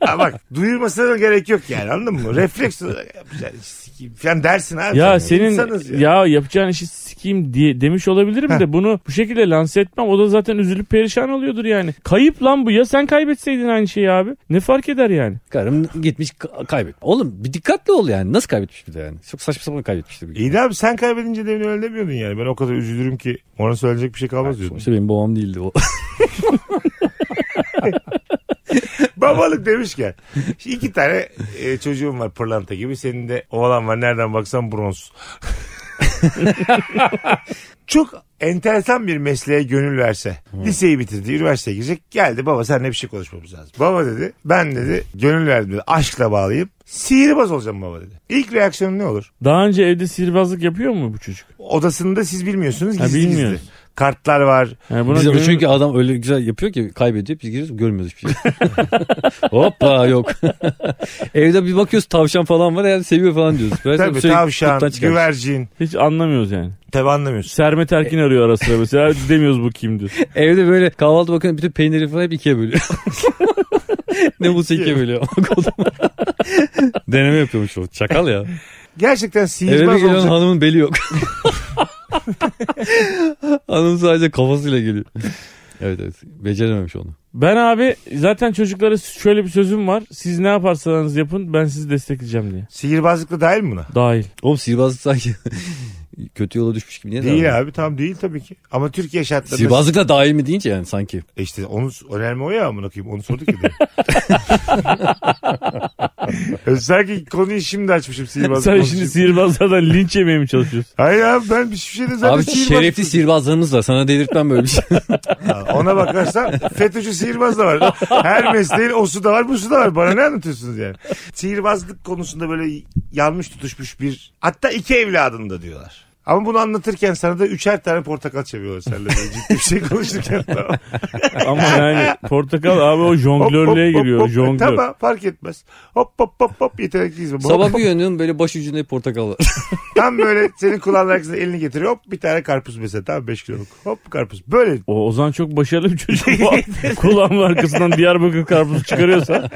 Speaker 1: ha bak duyurmasına da gerek yok yani anladın mı? Refleks olarak yapacağın işi sikeyim falan dersin abi.
Speaker 2: Ya
Speaker 1: sen.
Speaker 2: senin
Speaker 1: İnsanız
Speaker 2: ya. yapacağın işi sikeyim diye demiş olabilirim de bunu bu şekilde lanse etmem. O da zaten üzülüp perişan oluyordur yani. Kayıp lan bu ya sen kaybetseydin aynı şeyi abi. Ne fark eder yani?
Speaker 3: Karım gitmiş ka- kaybet. Oğlum bir dikkatli ol yani. Nasıl kaybetmiş bir de yani. Çok saçma sapan kaybetmişti. Bir
Speaker 1: İyi de abi sen kaybedince demin öyle demiyordun yani. Ben o kadar üzülürüm ki ona söyleyecek bir şey kalmaz diyordun.
Speaker 3: Sonuçta benim babam değildi o.
Speaker 1: Babalık demişken. Şimdi iki tane e, çocuğum var pırlanta gibi. Senin de oğlan var nereden baksan bronz. Çok enteresan bir mesleğe gönül verse. Liseyi bitirdi, üniversiteye girecek. Geldi baba seninle bir şey konuşmamız lazım. Baba dedi, ben dedi gönül verdim dedi. Aşkla bağlayıp sihirbaz olacağım baba dedi. İlk reaksiyonu ne olur?
Speaker 2: Daha önce evde sihirbazlık yapıyor mu bu çocuk?
Speaker 1: Odasında siz bilmiyorsunuz
Speaker 2: Ha,
Speaker 1: gizli gizli.
Speaker 2: bilmiyoruz.
Speaker 1: Kartlar var.
Speaker 2: Yani
Speaker 3: Biz
Speaker 2: gönül-
Speaker 3: çünkü adam öyle güzel yapıyor ki kaybediyor. Biz giriyoruz görmüyoruz hiçbir şey. Hoppa yok. Evde bir bakıyoruz tavşan falan var. Yani seviyor falan diyoruz. Meğerse
Speaker 1: Tabii
Speaker 3: sürekli
Speaker 1: tavşan,
Speaker 3: kulptan çıkarmış.
Speaker 1: güvercin.
Speaker 2: hiç anlamıyoruz yani.
Speaker 1: Tabii anlamıyorsun.
Speaker 2: Sermet Erkin arıyor ara sıra mesela demiyoruz bu kimdir.
Speaker 3: Evde böyle kahvaltı bakın bütün peyniri falan hep ikiye bölüyor. ne bu ikiye bölüyor. Deneme yapıyormuş o. Çakal ya.
Speaker 1: Gerçekten
Speaker 3: Eve bir
Speaker 1: sihirbaz
Speaker 3: gelen
Speaker 1: olacak.
Speaker 3: hanımın beli yok. Hanım sadece kafasıyla geliyor. Evet evet. Becerememiş onu.
Speaker 2: Ben abi zaten çocuklara şöyle bir sözüm var. Siz ne yaparsanız yapın ben sizi destekleyeceğim diye.
Speaker 1: Sihirbazlıkla dahil mi buna?
Speaker 2: Dahil.
Speaker 3: Oğlum sihirbazlık sanki kötü yola düşmüş gibi. Niye
Speaker 1: Değil
Speaker 3: davranıyor?
Speaker 1: abi tam değil tabii ki. Ama Türkiye şartlarında
Speaker 3: Sihirbazlık da dahil mi deyince yani sanki.
Speaker 1: E işte onu önemli o ya amına koyayım onu sorduk ya. diye. E Sanki konuyu şimdi açmışım sihirbazlık
Speaker 2: Sen
Speaker 1: konusunu.
Speaker 2: şimdi sihirbazlardan linç yemeye mi çalışıyorsun?
Speaker 1: Hayır abi ben bir şey de zaten
Speaker 3: Abi
Speaker 1: sihirbaz-
Speaker 3: şerefli sihirbazlarımız da sana delirtmem böyle bir şey.
Speaker 1: Ha, Ona bakarsan FETÖ'cü sihirbaz da var. Her mesleğin o su da var bu su da var. Bana ne anlatıyorsunuz yani? Sihirbazlık konusunda böyle yanlış tutuşmuş bir hatta iki evladın da diyorlar. Ama bunu anlatırken sana da üçer tane portakal çeviriyorlar seninle. böyle Ciddi bir şey konuşurken tamam.
Speaker 2: Ama yani portakal abi o
Speaker 1: Hop,
Speaker 2: jonglörlüğe
Speaker 1: hop, hop,
Speaker 2: giriyor.
Speaker 1: hop. E,
Speaker 2: Jonglör.
Speaker 1: Tamam fark etmez. Hop hop hop hop yetenekliyiz mi?
Speaker 3: Sabah bir uyanıyorum böyle baş ucunda bir portakal var.
Speaker 1: Tam böyle senin kulağın arkasına elini getiriyor. Hop bir tane karpuz mesela tamam 5 kiloluk. Hop karpuz. Böyle
Speaker 2: O Ozan çok başarılı bir çocuk. Bu- Kulağımın arkasından Diyarbakır karpuzu çıkarıyorsa.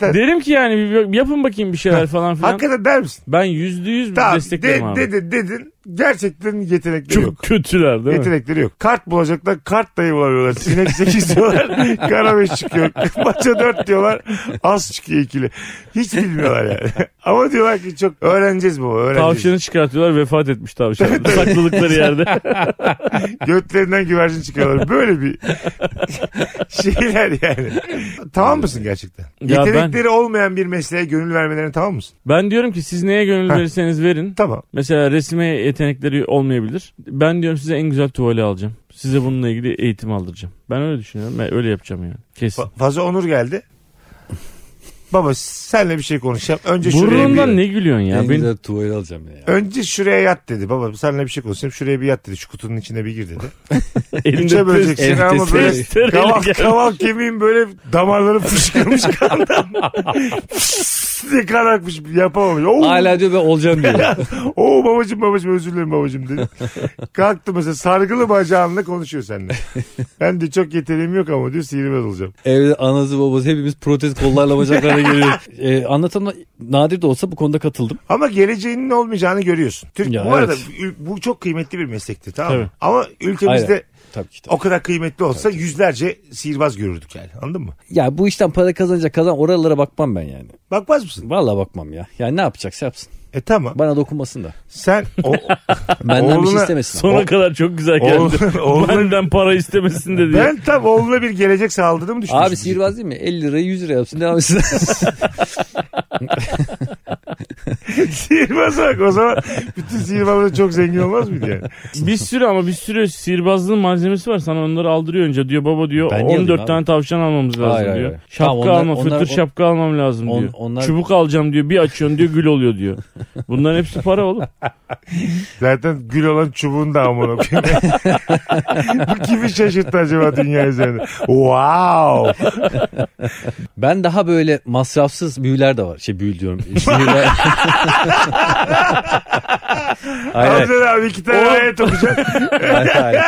Speaker 2: Derim ki yani bir- bir yapın bakayım bir şeyler falan filan.
Speaker 1: hakikaten der misin?
Speaker 2: Ben yüzde yüz
Speaker 1: Tamam
Speaker 2: desteklerim
Speaker 1: de,
Speaker 2: abi.
Speaker 1: dedin dedin gerçekten yetenekleri
Speaker 2: çok
Speaker 1: yok.
Speaker 2: kötüler değil mi?
Speaker 1: Yetenekleri yok. Kart bulacaklar kart dayı bulamıyorlar. Sinek 8 diyorlar. Kara 5 çıkıyor. Maça 4 diyorlar. Az çıkıyor ikili. Hiç bilmiyorlar yani. Ama diyorlar ki çok öğreneceğiz bu. Öğreneceğiz.
Speaker 2: Tavşanı çıkartıyorlar vefat etmiş tavşan. Sakladıkları yerde.
Speaker 1: Götlerinden güvercin çıkıyorlar. Böyle bir şeyler yani. Tamam mısın gerçekten?
Speaker 2: Ya
Speaker 1: Yetenekleri olmayan bir mesleğe gönül vermelerine tamam mısın?
Speaker 2: Ben diyorum ki siz neye gönül
Speaker 1: Heh.
Speaker 2: verirseniz verin.
Speaker 1: Tamam.
Speaker 2: Mesela resime yetenekleri olmayabilir. Ben diyorum size en güzel tuvali alacağım. Size bununla ilgili eğitim aldıracağım. Ben öyle düşünüyorum. Ben öyle yapacağım yani. Kesin.
Speaker 1: Fa- Fazla Onur geldi. Baba senle bir şey konuşacağım. Önce şuraya bir...
Speaker 2: Burnundan ne gülüyorsun ya?
Speaker 3: en
Speaker 2: Ben-
Speaker 3: güzel tuvali alacağım ya.
Speaker 1: Önce şuraya yat dedi. Baba seninle bir şey konuşacağım. Şuraya bir yat dedi. Şu kutunun içine bir gir dedi.
Speaker 2: elinde
Speaker 1: Üçe böleceksin
Speaker 3: testere-
Speaker 1: ama böyle
Speaker 2: testere
Speaker 1: kaval,
Speaker 2: geldi.
Speaker 1: kaval kemiğin böyle damarları fışkırmış kandan. Fıs diye kan akmış. Yapamamış. Oo.
Speaker 3: Hala diyor ben olacağım diyor.
Speaker 1: Oo babacım babacım özür dilerim babacım dedi. Kalktı mesela sargılı bacağınla konuşuyor seninle. Ben de çok yeteneğim yok ama diyor sihirbaz olacağım.
Speaker 3: Evde anası babası hepimiz protez kollarla bacaklarla geliyor. Ee, anlatan nadir de olsa bu konuda katıldım.
Speaker 1: Ama geleceğinin olmayacağını görüyorsun. Türk,
Speaker 3: Ya,
Speaker 1: bu arada
Speaker 3: evet.
Speaker 1: ül- bu çok kıymetli bir meslektir tamam mı?
Speaker 2: Tabii.
Speaker 1: Ama ülkemizde
Speaker 3: Aynen. Tabii ki.
Speaker 1: o kadar kıymetli olsa yüzlerce sihirbaz görürdük yani anladın mı?
Speaker 3: Ya bu işten para kazanacak kazan oralara bakmam ben yani.
Speaker 1: Bakmaz mısın?
Speaker 3: Vallahi bakmam ya. Yani ne yapacaksa yapsın.
Speaker 1: E tamam.
Speaker 3: Bana dokunmasın da.
Speaker 1: Sen o,
Speaker 3: Benden bir şey
Speaker 1: Oğluna-
Speaker 3: istemesin.
Speaker 2: Sona
Speaker 1: O-
Speaker 2: kadar çok güzel geldi.
Speaker 1: oğlun, oğlun,
Speaker 2: Benden para istemesin dedi.
Speaker 1: ben tam oğluna bir gelecek sağladığımı düşünüyorum.
Speaker 2: şey.
Speaker 3: Abi sihirbaz değil mi? 50 lirayı 100 liraya yapsın devam etsin.
Speaker 1: sihirbaz bak o zaman bütün sihirbazlar çok zengin olmaz mıydı yani?
Speaker 2: Bir sürü ama bir sürü sihirbazlığın malzemesi var. Sana onları aldırıyor önce diyor. Baba diyor
Speaker 3: Ben niye
Speaker 2: 14
Speaker 3: alayım
Speaker 2: tane
Speaker 3: abi?
Speaker 2: tavşan almamız lazım
Speaker 3: Hayır, hayır,
Speaker 2: diyor.
Speaker 3: hayır.
Speaker 2: Şapka
Speaker 3: Tamam, onlar-
Speaker 2: alma,
Speaker 3: onlar-
Speaker 2: fıtır şapka almam lazım
Speaker 3: On-
Speaker 2: diyor.
Speaker 3: onlar-
Speaker 2: Çubuk alacağım diyor. Bir açıyorsun diyor gül oluyor diyor. Bunların hepsi para oğlum.
Speaker 1: Zaten gül olan çubuğun da amına koyayım. Bu kimi şaşırttı acaba dünya üzerinde? Wow.
Speaker 3: Ben daha böyle masrafsız büyüler de var. Şey büyü diyorum. Sihirler. Aynen.
Speaker 1: Abdül abi iki tane ayet okuyacak.
Speaker 3: Hayır, hayır.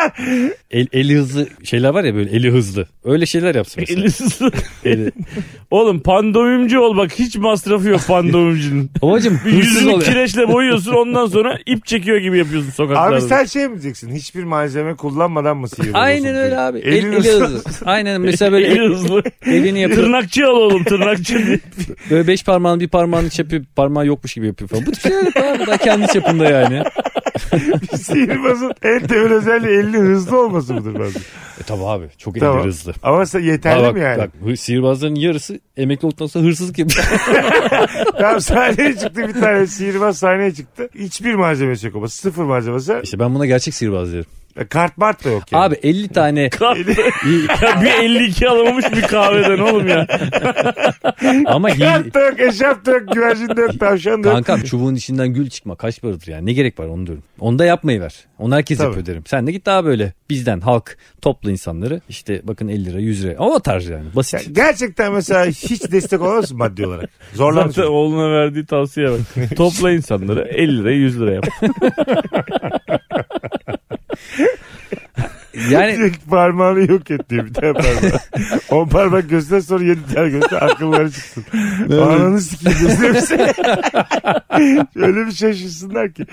Speaker 3: El, eli hızlı şeyler var ya böyle eli hızlı. Öyle şeyler yapsın mesela. Eli-
Speaker 2: Oğlum pandomimci ol bak hiç masrafı yok pandomimcinin.
Speaker 3: Babacım
Speaker 2: Bir
Speaker 3: hırsız
Speaker 2: yüzünü
Speaker 3: ol. ya.
Speaker 2: kireçle boyuyorsun ondan sonra ip çekiyor gibi yapıyorsun sokaklarda.
Speaker 1: Abi sen şey mi diyeceksin? Hiçbir malzeme kullanmadan mı sıyırıyorsun?
Speaker 3: Aynen öyle abi. El,
Speaker 1: Elin
Speaker 3: eli hızlı. Aynen mesela böyle
Speaker 2: Eli
Speaker 3: el-
Speaker 2: hızlı.
Speaker 3: elini yapıyor.
Speaker 2: Tırnakçı al oğlum tırnakçı. diye.
Speaker 3: Böyle beş parmağını bir parmağını hiç yapıyor. Parmağı yokmuş gibi yapıyor falan. Bu tip şeyler yap abi. Daha kendi çapında yani.
Speaker 1: Sihirbazın en temel özelliği elinin hızlı olması mıdır bazen?
Speaker 3: E tabi abi. Çok
Speaker 1: Tamam.
Speaker 3: eli hızlı.
Speaker 1: Ama sen
Speaker 3: Aa,
Speaker 1: yeterli
Speaker 3: bak,
Speaker 1: mi yani?
Speaker 3: bak, hı- sihirbazların yarısı emekli olduktan sonra hırsızlık yapıyor.
Speaker 1: Tam sahneye çıktı bir tane sihirbaz sahneye çıktı. Hiçbir malzemesi yok ama sıfır malzemesi.
Speaker 3: işte ben buna gerçek sihirbaz derim.
Speaker 1: Kart mart da yok yani.
Speaker 3: Abi 50 tane
Speaker 2: ya bir 52 alamamış bir kahveden oğlum ya.
Speaker 3: ama hile,
Speaker 1: Kart da yok, eşarp da yok, güvercin de yok, tavşan da yok.
Speaker 3: Kankam çubuğun içinden gül çıkma kaç paradır yani ne gerek var onu diyorum. Onu da yapmayı ver. Onu herkes
Speaker 1: Tabii.
Speaker 3: yapıyor derim. Sen de git daha böyle bizden halk topla insanları işte bakın 50 lira 100 lira o tarz yani
Speaker 1: Ya
Speaker 3: basit.
Speaker 1: Gerçekten mesela hiç destek olamaz mı maddi olarak? Zorlanmış.
Speaker 2: Zaten oğluna verdiği tavsiye bak. Topla insanları 50 lira 100 lira yap.
Speaker 3: Yani
Speaker 1: Direkt parmağını yok et diyor bir tane parmağı. On parmak göster sonra yedi tane göster akılları çıksın. Ananı sikeyim desin hepsi. Öyle bir şaşırsınlar ki.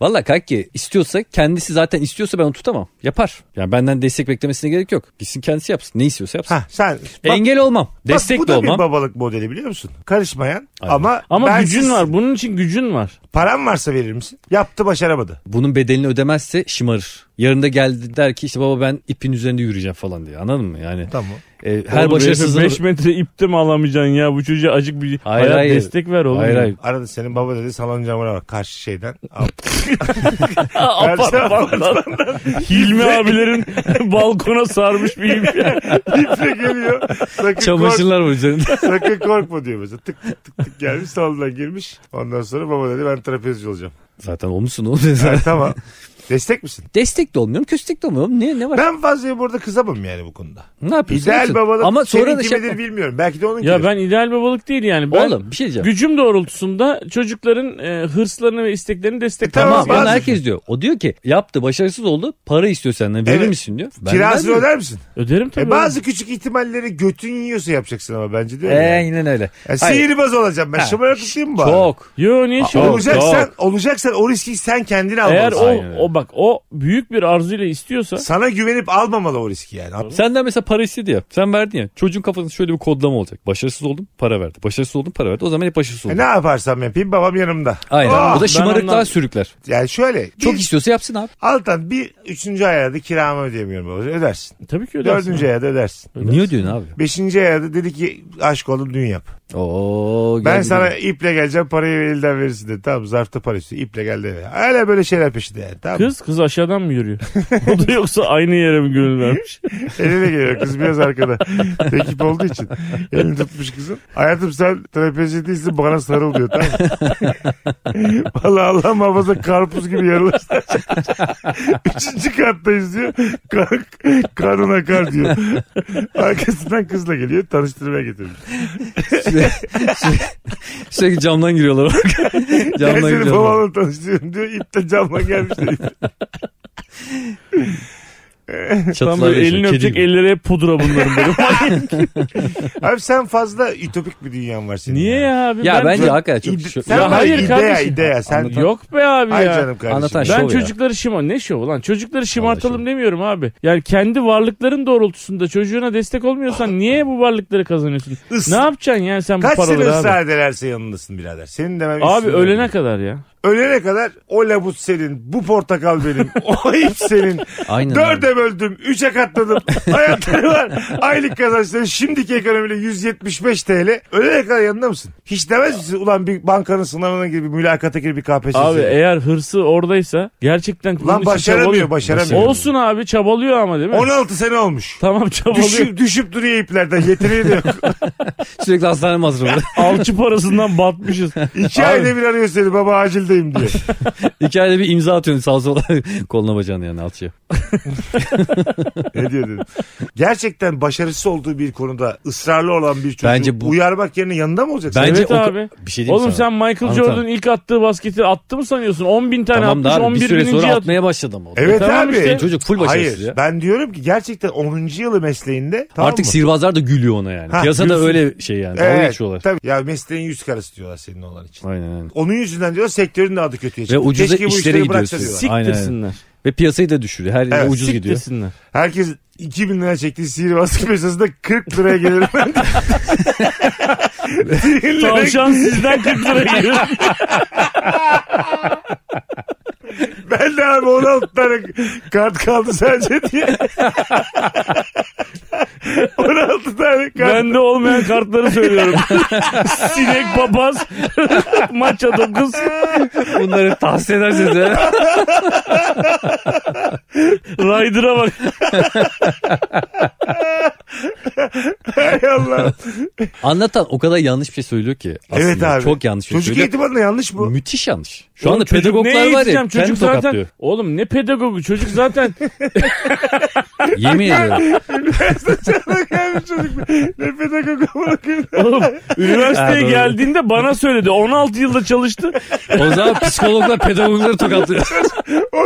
Speaker 3: valla kanki istiyorsa kendisi zaten istiyorsa ben onu tutamam. Yapar. Yani benden destek beklemesine gerek yok. Gitsin kendisi yapsın ne istiyorsa yapsın.
Speaker 1: Ha sen bak,
Speaker 3: Engel olmam.
Speaker 1: bak
Speaker 3: E, Destek
Speaker 1: bu
Speaker 3: de
Speaker 1: da
Speaker 3: olmam.
Speaker 1: bir babalık modeli biliyor musun? Karışmayan
Speaker 3: Aynen.
Speaker 1: ama
Speaker 2: Ama
Speaker 1: bensiz-
Speaker 2: gücün var. Bunun için gücün var.
Speaker 1: Paran varsa verir misin? Yaptı başaramadı.
Speaker 3: Bunun bedelini ödemezse şımarır. Yarın da geldi der ki işte baba ben ipin üzerinde yürüyeceğim falan diye anladın mı? Yani
Speaker 1: Tamam.
Speaker 3: e, her başarısızlığı...
Speaker 2: 5 metre ipte mi alamayacaksın ya bu çocuğa acık bir
Speaker 3: Hayır,
Speaker 2: hayat
Speaker 3: hayır.
Speaker 2: destek ver oğlum.
Speaker 3: Hayır
Speaker 2: ya.
Speaker 3: hayır.
Speaker 1: Arada senin baba dedi salon camına bak karşı şeyden. Al.
Speaker 2: Apar
Speaker 1: Karşı
Speaker 2: apartmandan. Hilmi abilerin balkona sarmış bir ip.
Speaker 1: İple geliyor. Sakın korkma,
Speaker 3: Çamaşırlar var üzerinde.
Speaker 1: sakın korkma diyor mesela. Tık tık tık tık gelmiş salona girmiş. Ondan sonra baba dedi ben trapezci olacağım.
Speaker 3: Zaten olmuşsun oğlum.
Speaker 1: Ha, tamam. Destek misin?
Speaker 3: Destek de olmuyorum, köstek de olmuyorum. Ne ne var?
Speaker 1: Ben fazla burada kızamam yani bu konuda.
Speaker 3: ne yapıyorsun? ne
Speaker 1: İdeal
Speaker 3: yapıyorsun?
Speaker 1: babalık
Speaker 3: Ama sonra
Speaker 1: senin
Speaker 3: da şey
Speaker 1: kimidir
Speaker 3: yapma.
Speaker 1: bilmiyorum. Belki de onun
Speaker 2: Ya ben ideal babalık değil yani. Ben
Speaker 3: Oğlum bir şey diyeceğim.
Speaker 2: gücüm doğrultusunda çocukların e, hırslarını ve isteklerini desteklemem.
Speaker 1: E, Tamam,
Speaker 3: Tamam,
Speaker 1: bazı-
Speaker 3: bana herkes diyor. O diyor ki yaptı başarısız oldu para istiyor senden verir
Speaker 1: Evet.
Speaker 3: misin diyor. Ben
Speaker 1: Kirasını
Speaker 3: vermiyorum.
Speaker 1: öder misin?
Speaker 2: Öderim tabii.
Speaker 1: E bazı küçük ihtimalleri götün yiyorsa yapacaksın ama bence de öyle.
Speaker 3: Ee,
Speaker 1: yani. E,
Speaker 3: aynen öyle.
Speaker 1: Yani
Speaker 3: Hayır.
Speaker 1: sihirbaz olacağım ben.
Speaker 3: Ha.
Speaker 1: Şımarıklıyım mı? abi?
Speaker 3: Çok.
Speaker 2: Yo niye şey olmaz?
Speaker 1: Olacaksan, olacaksan o riski sen kendin almalısın.
Speaker 2: Eğer o,
Speaker 3: Aynen öyle.
Speaker 2: o bak o büyük bir arzuyla istiyorsa
Speaker 1: Sana güvenip almamalı o riski yani.
Speaker 3: Senden mesela para istedi ya. Sen verdin ya. Çocuğun kafasında şöyle bir kodlama olacak. Başarısız oldum para verdi. Başarısız oldum para verdi. O zaman hep başarısız
Speaker 1: E
Speaker 3: oldu.
Speaker 1: ne yaparsam yapayım babam yanımda.
Speaker 3: Aynen.
Speaker 1: Ah,
Speaker 3: bu da şımarıklığa
Speaker 2: ondan-
Speaker 3: sürükler.
Speaker 1: Yani şöyle.
Speaker 3: Çok
Speaker 1: bir,
Speaker 3: istiyorsa yapsın abi.
Speaker 1: Altan bir üçüncü ayda da kiramı ödeyemiyorum babacığım. Ödersin.
Speaker 2: tabii ki ödersin.
Speaker 1: Dördüncü ayda ödersin.
Speaker 3: Niye diyorsun abi?
Speaker 1: Beşinci ayda dedi ki aşk oğlum dün yap.
Speaker 3: Oo,
Speaker 1: Ben
Speaker 3: geldi
Speaker 1: sana
Speaker 3: geldi.
Speaker 1: iple geleceğim parayı elden verirsin dedi. Tamam zarfta para istiyor. İple gel dedi. Öyle böyle şeyler peşinde yani. Tamam.
Speaker 2: Kız kız aşağıdan mı yürüyor? o da yoksa aynı yere mi gönül vermiş?
Speaker 1: Eline geliyor kız biraz arkada. Ekip olduğu için. Elini tutmuş kızın. Hayatım sen trapezi değilsin bana sarıl diyor. Tamam. mı? Vallahi Allah muhafaza karpuz gibi yarılasın. Üçüncü kattayız diyor. Kan, kanun akar diyor. Arkasından kızla geliyor. Tanıştırmaya getirmiş.
Speaker 3: Sürekli camdan giriyorlar.
Speaker 1: Ben
Speaker 3: camdan
Speaker 1: seni
Speaker 3: giriyorlar.
Speaker 1: babamla tanıştırıyorum diyor. İp de camla gelmiş. dedi.
Speaker 2: Tam
Speaker 3: Çatılar
Speaker 2: böyle
Speaker 3: yaşıyor,
Speaker 2: elini
Speaker 3: kedi
Speaker 2: öpecek
Speaker 3: gibi.
Speaker 2: elleri hep pudra bunların böyle.
Speaker 1: Abi sen fazla ütopik bir dünyan var senin.
Speaker 2: Niye ya abi?
Speaker 3: Ya
Speaker 2: ben,
Speaker 3: bence hakikaten çok
Speaker 1: İde-
Speaker 3: şu-
Speaker 1: sen
Speaker 2: Ya
Speaker 1: bana
Speaker 2: hayır
Speaker 1: idea,
Speaker 2: kardeşim.
Speaker 1: idea. Sen
Speaker 3: Anlatan-
Speaker 2: Yok be abi
Speaker 1: Ay
Speaker 2: ya.
Speaker 1: canım kardeşim.
Speaker 3: Anlatan
Speaker 1: Ben-
Speaker 2: Ben
Speaker 3: Şov ya.
Speaker 2: çocukları şıma ne şovu lan çocukları şımartalım
Speaker 3: şov.
Speaker 2: demiyorum abi. Yani kendi varlıkların doğrultusunda çocuğuna destek olmuyorsan niye bu varlıkları kazanıyorsun?
Speaker 1: Is-
Speaker 2: ne yapacaksın yani sen bu
Speaker 1: Kaç sene
Speaker 2: paraları abi?
Speaker 1: ısrar ederlerse yanındasın birader. Senin demem
Speaker 2: Abi
Speaker 1: üstüne
Speaker 2: ölene
Speaker 1: dönüyor.
Speaker 2: kadar ya.
Speaker 1: ölene kadar o labut senin, bu portakal benim, o ip senin.
Speaker 3: Aynen. abi.
Speaker 1: Dörde böldüm, üçe katladım. Hayatları var. Aylık kazançları şimdiki ekonomiyle 175 TL. Ölene kadar yanında mısın? Hiç demez misin? Ulan bir bankanın sınavına gir, bir mülakata gir, bir KPSS'ye.
Speaker 2: Abi e- eğer hırsı oradaysa gerçekten bunun
Speaker 1: Lan
Speaker 2: için
Speaker 1: başaramıyor,
Speaker 2: çabalıyor.
Speaker 1: başaramıyor.
Speaker 2: Olsun abi çabalıyor ama değil mi?
Speaker 1: 16 sene olmuş.
Speaker 2: Tamam çabalıyor.
Speaker 1: Düşüp, düşüp duruyor iplerden. Yeteneği de yok.
Speaker 3: Sürekli hastane masrafı.
Speaker 2: Alçı parasından batmışız.
Speaker 1: İki
Speaker 3: şey
Speaker 1: ayda bir arıyor seni baba acildeyim diye.
Speaker 3: Hikayede bir imza atıyorsun sağ sola koluna bacağını yani alçıya.
Speaker 1: ne diyor dedim. Gerçekten başarısız olduğu bir konuda ısrarlı olan bir çocuğu
Speaker 3: Bence bu-
Speaker 1: uyarmak yerine yanında mı olacaksın?
Speaker 3: Bence
Speaker 2: Evet
Speaker 3: o-
Speaker 2: abi.
Speaker 3: Bir şey diyeyim
Speaker 2: Oğlum
Speaker 3: sana.
Speaker 2: sen Michael
Speaker 3: Anlat
Speaker 2: Jordan'ın
Speaker 3: abi.
Speaker 2: ilk attığı basketi attı mı sanıyorsun? 10 bin tane
Speaker 3: Tamam da
Speaker 2: atmış
Speaker 3: abi, bir
Speaker 2: 11
Speaker 3: süre sonra
Speaker 2: bininci at.
Speaker 3: atmaya başladı ama. o da.
Speaker 1: Evet
Speaker 2: tamam
Speaker 1: abi.
Speaker 2: işte.
Speaker 3: Yani E, çocuk full başarısız
Speaker 1: Hayır
Speaker 3: ya.
Speaker 1: ben diyorum ki gerçekten 10. yılı mesleğinde tamam
Speaker 3: Artık
Speaker 1: mı?
Speaker 3: sihirbazlar da gülüyor ona yani.
Speaker 1: Ha,
Speaker 3: Piyasada
Speaker 1: gülsün.
Speaker 3: öyle şey yani. Dalga
Speaker 1: Evet,
Speaker 3: geçiyorlar.
Speaker 1: tabii. Ya mesleğin yüz karası diyorlar senin olan için.
Speaker 3: Aynen aynen.
Speaker 1: Onun yüzünden diyorlar sektörün de adı kötüye
Speaker 3: Ve
Speaker 1: çıktı.
Speaker 3: ucuza
Speaker 1: Keşke bu
Speaker 3: işlere
Speaker 1: işleri bıraksa
Speaker 3: gidiyorsun.
Speaker 1: diyorlar.
Speaker 2: Siktirsinler.
Speaker 3: Ve piyasayı da düşürüyor. Her yere
Speaker 1: Evet,
Speaker 3: ucuz gidiyor.
Speaker 2: Siktirsinler.
Speaker 1: Herkes 2000 lira çektiği sihirbazlık mesajında 40 liraya gelir. Sinirlenerek
Speaker 2: Tavşan sizden 40 lira geliyor.
Speaker 1: ben de abi 16 tane kart kaldı sadece diye. 16 tane kart.
Speaker 2: Bende olmayan kartları söylüyorum. Sinek papaz, maça 9.
Speaker 3: Bunları tahsil edersiniz ya.
Speaker 2: Rider'a bak.
Speaker 1: Hay Allah.
Speaker 3: Anlatan o kadar yanlış bir şey söylüyor ki. Aslında.
Speaker 1: Evet abi.
Speaker 3: Çok yanlış bir şey
Speaker 1: Çocuk
Speaker 3: söylüyor.
Speaker 1: eğitim adına yanlış bu.
Speaker 3: Müthiş yanlış. Şu
Speaker 2: Oğlum
Speaker 3: anda
Speaker 2: çocuk
Speaker 3: pedagoglar
Speaker 2: neye
Speaker 3: var ya
Speaker 2: yetişeceğim?
Speaker 3: kendi
Speaker 2: Çocuk zaten,
Speaker 3: tokatlıyor.
Speaker 2: Oğlum ne pedagogu? Çocuk zaten
Speaker 3: Yemin ediyorum.
Speaker 1: Çocuk abi çocuk. Ne pedagog olarak.
Speaker 2: oğlum, üniversiteye
Speaker 3: Ha, doğru.
Speaker 2: geldiğinde bana söyledi. 16 yılda çalıştı.
Speaker 3: O zaman psikologlar pedagogları tokatlıyor.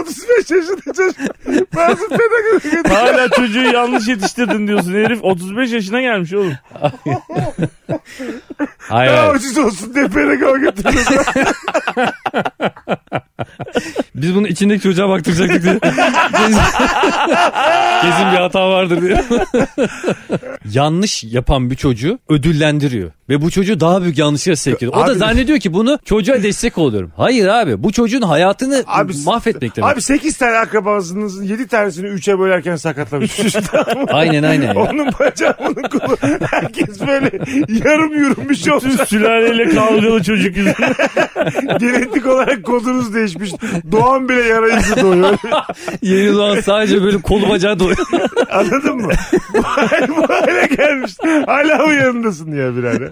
Speaker 1: 35 yaşında çocuk. Bazı pedagog.
Speaker 2: Hala çocuğu yanlış yetiştirdin diyorsun. Herif 35 yaşına gelmiş oğlum.
Speaker 3: Hayır.
Speaker 1: Daha
Speaker 3: hayır.
Speaker 1: ucuz olsun diye pedagog götürüyor.
Speaker 3: Biz bunun içindeki çocuğa baktıracaktık diye. Kesin bir hata vardır diye. Yanlış yapan bir çocuğu ödüllendiriyor. Ve bu çocuğu daha büyük yanlışlara sevk ediyor. O
Speaker 1: Abi-
Speaker 3: da zannediyor ki bunu çocuğa destek oluyorum. Hayır abi bu çocuğun hayatını
Speaker 1: Abi-
Speaker 3: mahvetmek demek.
Speaker 1: Abi 8 tane akrabanızın 7 tanesini 3'e bölerken sakatlamışsınız. Tamam mı?
Speaker 3: Aynen aynen. ya.
Speaker 1: Onun bacağı onun kolu. Herkes böyle yarım yürümüş olmuş.
Speaker 2: Tüm sülaleyle kavgalı çocuk yüzünden.
Speaker 1: Genetik olarak kodunuz değişmiş. Doğan bile yara izi doğuyor.
Speaker 3: Yeni doğan sadece böyle kolu bacağı doyuyor.
Speaker 1: Anladın mı? Bu, hal- bu hale gelmiş. Hala mı yanındasın ya birader?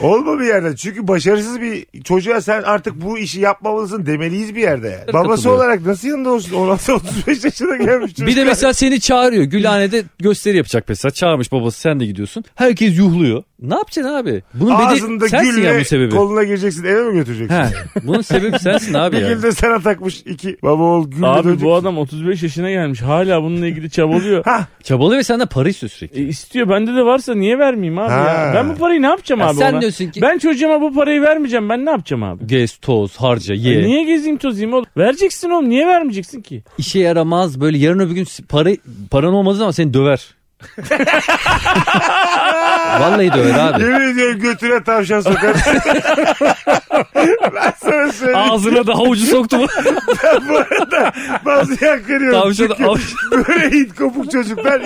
Speaker 1: Olma bir yerde. Çünkü başarısız bir çocuğa sen artık bu işi yapmamalısın demeliyiz bir yerde yani. Babası
Speaker 3: Katılıyorum.
Speaker 1: olarak nasıl yanında olsun? 16-35 yaşına gelmiş çocuk.
Speaker 3: Bir de mesela seni çağırıyor. Gülhane'de gösteri yapacak mesela. Çağırmış babası sen de gidiyorsun. Herkes yuhluyor. Ne yapacaksın abi? Bunun bedi-
Speaker 1: Ağzında
Speaker 3: sensin ya bu
Speaker 1: gülle
Speaker 3: sebebi.
Speaker 1: koluna gireceksin eve mi götüreceksin?
Speaker 3: He, bunun sebebi sensin abi
Speaker 1: Bir
Speaker 3: yani.
Speaker 1: gül de sana takmış iki. Baba oğul gülle
Speaker 2: Abi
Speaker 1: dönecek.
Speaker 2: bu adam 35 yaşına gelmiş. Hala bununla ilgili çabalıyor.
Speaker 3: Çabalıyor ve senden para istiyor sürekli.
Speaker 2: E, istiyor. Bende de varsa niye vermeyeyim abi
Speaker 1: Ha.
Speaker 2: ya? Ben bu parayı ne yapacağım
Speaker 3: Ya
Speaker 2: abi
Speaker 3: sen
Speaker 2: ona?
Speaker 3: diyorsun ki-
Speaker 2: Ben çocuğuma bu parayı vermeyeceğim. Ben ne yapacağım abi?
Speaker 3: Gez, toz, harca, ye.
Speaker 2: E, niye gezeyim tozayım oğlum? Vereceksin oğlum. Niye vermeyeceksin ki?
Speaker 3: İşe yaramaz böyle yarın öbür gün para, paran olmaz ama seni döver. Vallahi döver abi.
Speaker 1: Yemin ediyorum götüne tavşan sokar. ben sana söyleyeyim.
Speaker 3: Ağzına da havucu soktum.
Speaker 1: Bu arada bazı yakarıyorum.
Speaker 3: Tavşanı
Speaker 1: Çünkü böyle it kopuk çocuklar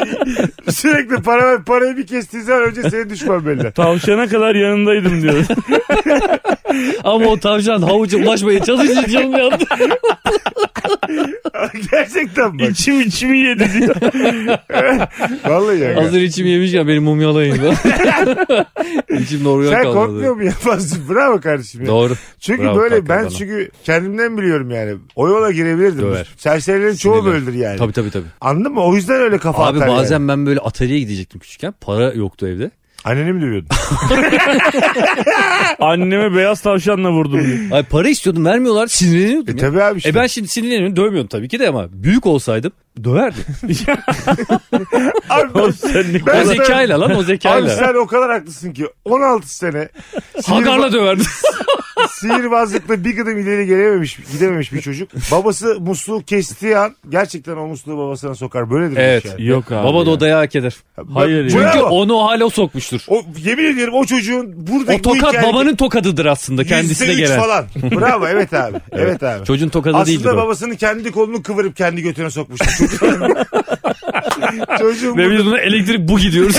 Speaker 1: sürekli para ver. Parayı bir kestiği zaman önce seni düşman belli.
Speaker 2: Tavşana kadar yanındaydım diyor.
Speaker 3: ama o tavşan havuca ulaşmaya çalışınca canım yandı.
Speaker 1: Gerçekten bak.
Speaker 2: İçim içimi yedi diyor.
Speaker 1: Vallahi ya.
Speaker 3: Hazır içim yemişken beni mumyalayın. İçim doğruyor
Speaker 1: Sen
Speaker 3: kalmadı.
Speaker 1: korkmuyor musun ya? Fazla- Bravo kardeşim. Ya.
Speaker 3: Doğru.
Speaker 1: Çünkü
Speaker 3: Bravo
Speaker 1: böyle
Speaker 3: kanka
Speaker 1: ben
Speaker 3: bana.
Speaker 1: çünkü kendimden biliyorum yani. O yola girebilirdim.
Speaker 3: Döver.
Speaker 1: Serserilerin çoğu
Speaker 3: Sinirler.
Speaker 1: böyledir yani.
Speaker 3: Tabii tabii tabii.
Speaker 1: Anladın mı? O yüzden öyle kafa
Speaker 3: Abi
Speaker 1: atar
Speaker 3: bazen
Speaker 1: yani.
Speaker 3: ben böyle atölyeye gidecektim küçükken. Para yoktu evde.
Speaker 1: Anneni mi dövüyordun?
Speaker 2: Anneme beyaz tavşanla vurdum diyor.
Speaker 3: Ay para istiyordum vermiyorlar sinirleniyordum.
Speaker 1: e
Speaker 3: ya.
Speaker 1: tabii abi işte.
Speaker 3: E ben şimdi sinirleniyorum dövmüyorum tabii ki de ama büyük olsaydım döverdim.
Speaker 1: Abi,
Speaker 2: Oğlum sen ne
Speaker 1: Ben
Speaker 3: o
Speaker 1: sana-
Speaker 3: zekayla lan o
Speaker 1: Abi
Speaker 3: zekayla.
Speaker 1: sen o kadar haklısın ki 16 sene
Speaker 3: Hagarla döverdim.
Speaker 1: sihirbazlıkla bir kadın ileri gelememiş, gidememiş bir çocuk. Babası musluğu kestiği an gerçekten o musluğu babasına sokar. Böyledir bu
Speaker 3: Evet.
Speaker 1: iş yani.
Speaker 2: Yok abi.
Speaker 3: Baba da
Speaker 2: ya.
Speaker 3: o dayağı hak eder.
Speaker 2: Hayır ya.
Speaker 1: Çünkü
Speaker 3: Çünkü
Speaker 1: o,
Speaker 3: onu o hale o sokmuştur.
Speaker 1: o, yemin ediyorum o çocuğun burada
Speaker 3: O tokat babanın tokadıdır aslında kendisine gelen.
Speaker 1: falan. Bravo evet abi. Evet, abi.
Speaker 3: Çocuğun tokadı
Speaker 1: Aslında
Speaker 3: değildir o.
Speaker 1: babasının kendi kolunu kıvırıp kendi götüne sokmuş. çocuğun,
Speaker 3: Ve
Speaker 1: burada,
Speaker 3: biz buna elektrik bu gidiyoruz.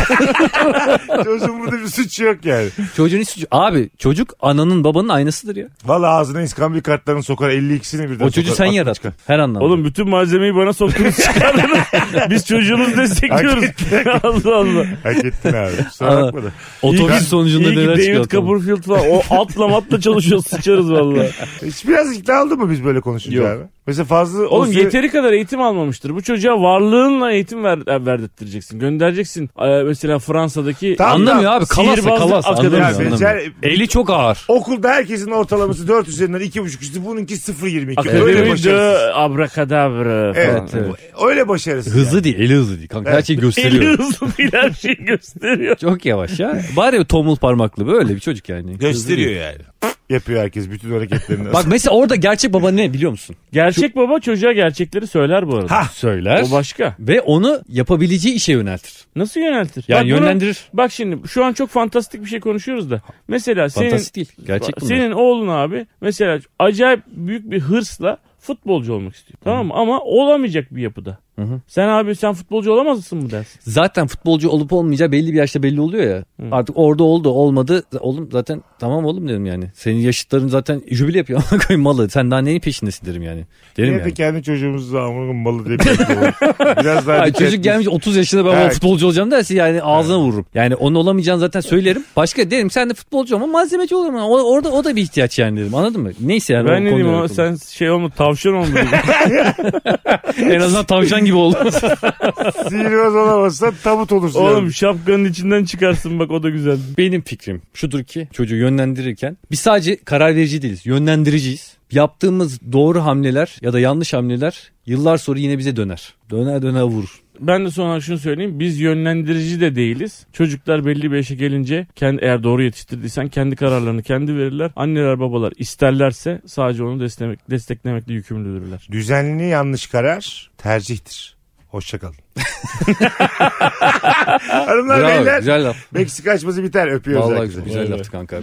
Speaker 1: çocuğun burada bir suçu yok yani.
Speaker 3: Çocuğun hiç suçu- Abi çocuk ananın babanın aynasıdır ya.
Speaker 1: Valla ağzına iskambil kartlarını sokar 52'sini birden
Speaker 3: O çocuğu
Speaker 1: sokar.
Speaker 3: sen
Speaker 1: Aklını
Speaker 3: yarat.
Speaker 1: çıkar.
Speaker 3: Her anlamda.
Speaker 2: Oğlum bütün malzemeyi bana soktunuz çıkardınız. Biz çocuğunuzu destekliyoruz. Allah Allah.
Speaker 1: Hak ettin abi. Kusura
Speaker 3: Aa.
Speaker 1: bakma da.
Speaker 3: otobüs sonucunda
Speaker 2: İyi ki
Speaker 3: neler çıkıyor.
Speaker 2: David
Speaker 3: ortama.
Speaker 2: Copperfield var. O atla matla çalışıyor sıçarız valla.
Speaker 1: Hiç biraz ikna oldun mu biz böyle konuşunca
Speaker 2: Yok.
Speaker 1: abi? Mesela fazla...
Speaker 2: Oğlum
Speaker 1: Oğuz'u-
Speaker 2: yeteri kadar eğitim almamıştır. Bu çocuğa varlığınla eğitim ver, e, verdirttireceksin. Göndereceksin. Ee, mesela Fransa'daki
Speaker 1: Tamam.
Speaker 3: Anlamıyor abi kalas
Speaker 2: Sihirbazlık
Speaker 3: kalas
Speaker 2: akademisi.
Speaker 3: anlamıyor,
Speaker 1: Ya
Speaker 3: anlamıyor.
Speaker 1: benzer-
Speaker 3: Eli çok ağır.
Speaker 1: Okulda herkesin ortalaması 4 üzerinden 2,5 üstü. Bununki 0,22. Öyle
Speaker 2: Akademi de
Speaker 1: başarısız.
Speaker 2: abrakadabra falan.
Speaker 1: Evet, bu- Öyle başarısız.
Speaker 3: Hızlı değil eli hızlı değil kanka her şeyi
Speaker 2: Eli
Speaker 3: gösteriyor.
Speaker 2: hızlı değil her şeyi gösteriyor.
Speaker 3: çok yavaş ya. Var ya tomul parmaklı böyle bir çocuk yani. Hızlı
Speaker 4: Gösteriyor
Speaker 3: değil.
Speaker 4: yani.
Speaker 1: Yapıyor herkes bütün hareketlerini.
Speaker 3: Bak mesela orada gerçek baba ne biliyor musun?
Speaker 2: Gerçek baba çocuğa gerçekleri söyler bu arada.
Speaker 3: Söyler.
Speaker 2: O başka.
Speaker 3: Ve onu yapabileceği işe yöneltir.
Speaker 2: Nasıl yöneltir?
Speaker 3: Yani
Speaker 2: bunu-
Speaker 3: yönlendirir.
Speaker 2: bak şimdi şu an çok fantastik bir şey konuşuyoruz da. Mesela senin
Speaker 3: Fantastik değil. Gerçek bunlar.
Speaker 2: senin oğlun abi mesela acayip büyük bir hırsla futbolcu olmak istiyor. Tamam mı? Ama olamayacak bir yapıda.
Speaker 3: hı.
Speaker 2: Sen abi sen futbolcu olamazsın mı dersin?
Speaker 3: Zaten futbolcu olup olmayacağı belli bir yaşta belli oluyor ya. Artık orada oldu olmadı. Oğlum zaten tamam oğlum dedim yani. Senin yaşıtların zaten jübile yapıyor. Amına koyayım malı. Sen daha neyin peşindesin derim yani. Derim
Speaker 1: Yine de
Speaker 3: yani.
Speaker 1: kendi çocuğumuzu amurgun malı diye bekliyorum. Biraz daha
Speaker 3: Ay,
Speaker 1: dikkat
Speaker 3: çocuk
Speaker 1: etmiş.
Speaker 3: gelmiş 30 yaşında ben
Speaker 1: Evet.
Speaker 3: futbolcu olacağım derse yani ağzına vururum. Yani onun olamayacağını zaten söylerim. Başka derim sen de futbolcu ama malzemeci olur mu? O- Orada o da bir ihtiyaç yani derim. Anladın mı? Neyse yani. o
Speaker 2: ben ne diyeyim
Speaker 3: konuyla
Speaker 2: ama
Speaker 3: alakalı.
Speaker 2: sen şey olma tavşan olma.
Speaker 3: En azından tavşan gibi oldun.
Speaker 1: Sihirbaz olamazsan tabut olursun.
Speaker 2: Oğlum
Speaker 1: yani.
Speaker 2: şapkanın içinden çıkarsın bak o da güzel.
Speaker 3: Benim fikrim şudur ki çocuğu yönlendirirken biz sadece karar verici değiliz yönlendiriciyiz. Yaptığımız doğru hamleler ya da yanlış hamleler yıllar sonra yine bize döner. Döner döner vurur.
Speaker 2: Ben de son olarak şunu söyleyeyim. Biz yönlendirici de değiliz. Çocuklar belli bir yaşa gelince kendi, eğer doğru yetiştirdiysen kendi kararlarını kendi verirler. Anneler babalar isterlerse sadece onu desteklemek, desteklemekle yükümlüdürler.
Speaker 1: Düzenli yanlış karar tercihtir. Hoşçakalın. Hanımlar
Speaker 3: Bravo
Speaker 1: beyler
Speaker 3: güzel laf.
Speaker 1: Meksika açması biter öpüyoruz
Speaker 3: Vallahi
Speaker 1: herkese.
Speaker 3: güzel, güzel laftı kanka.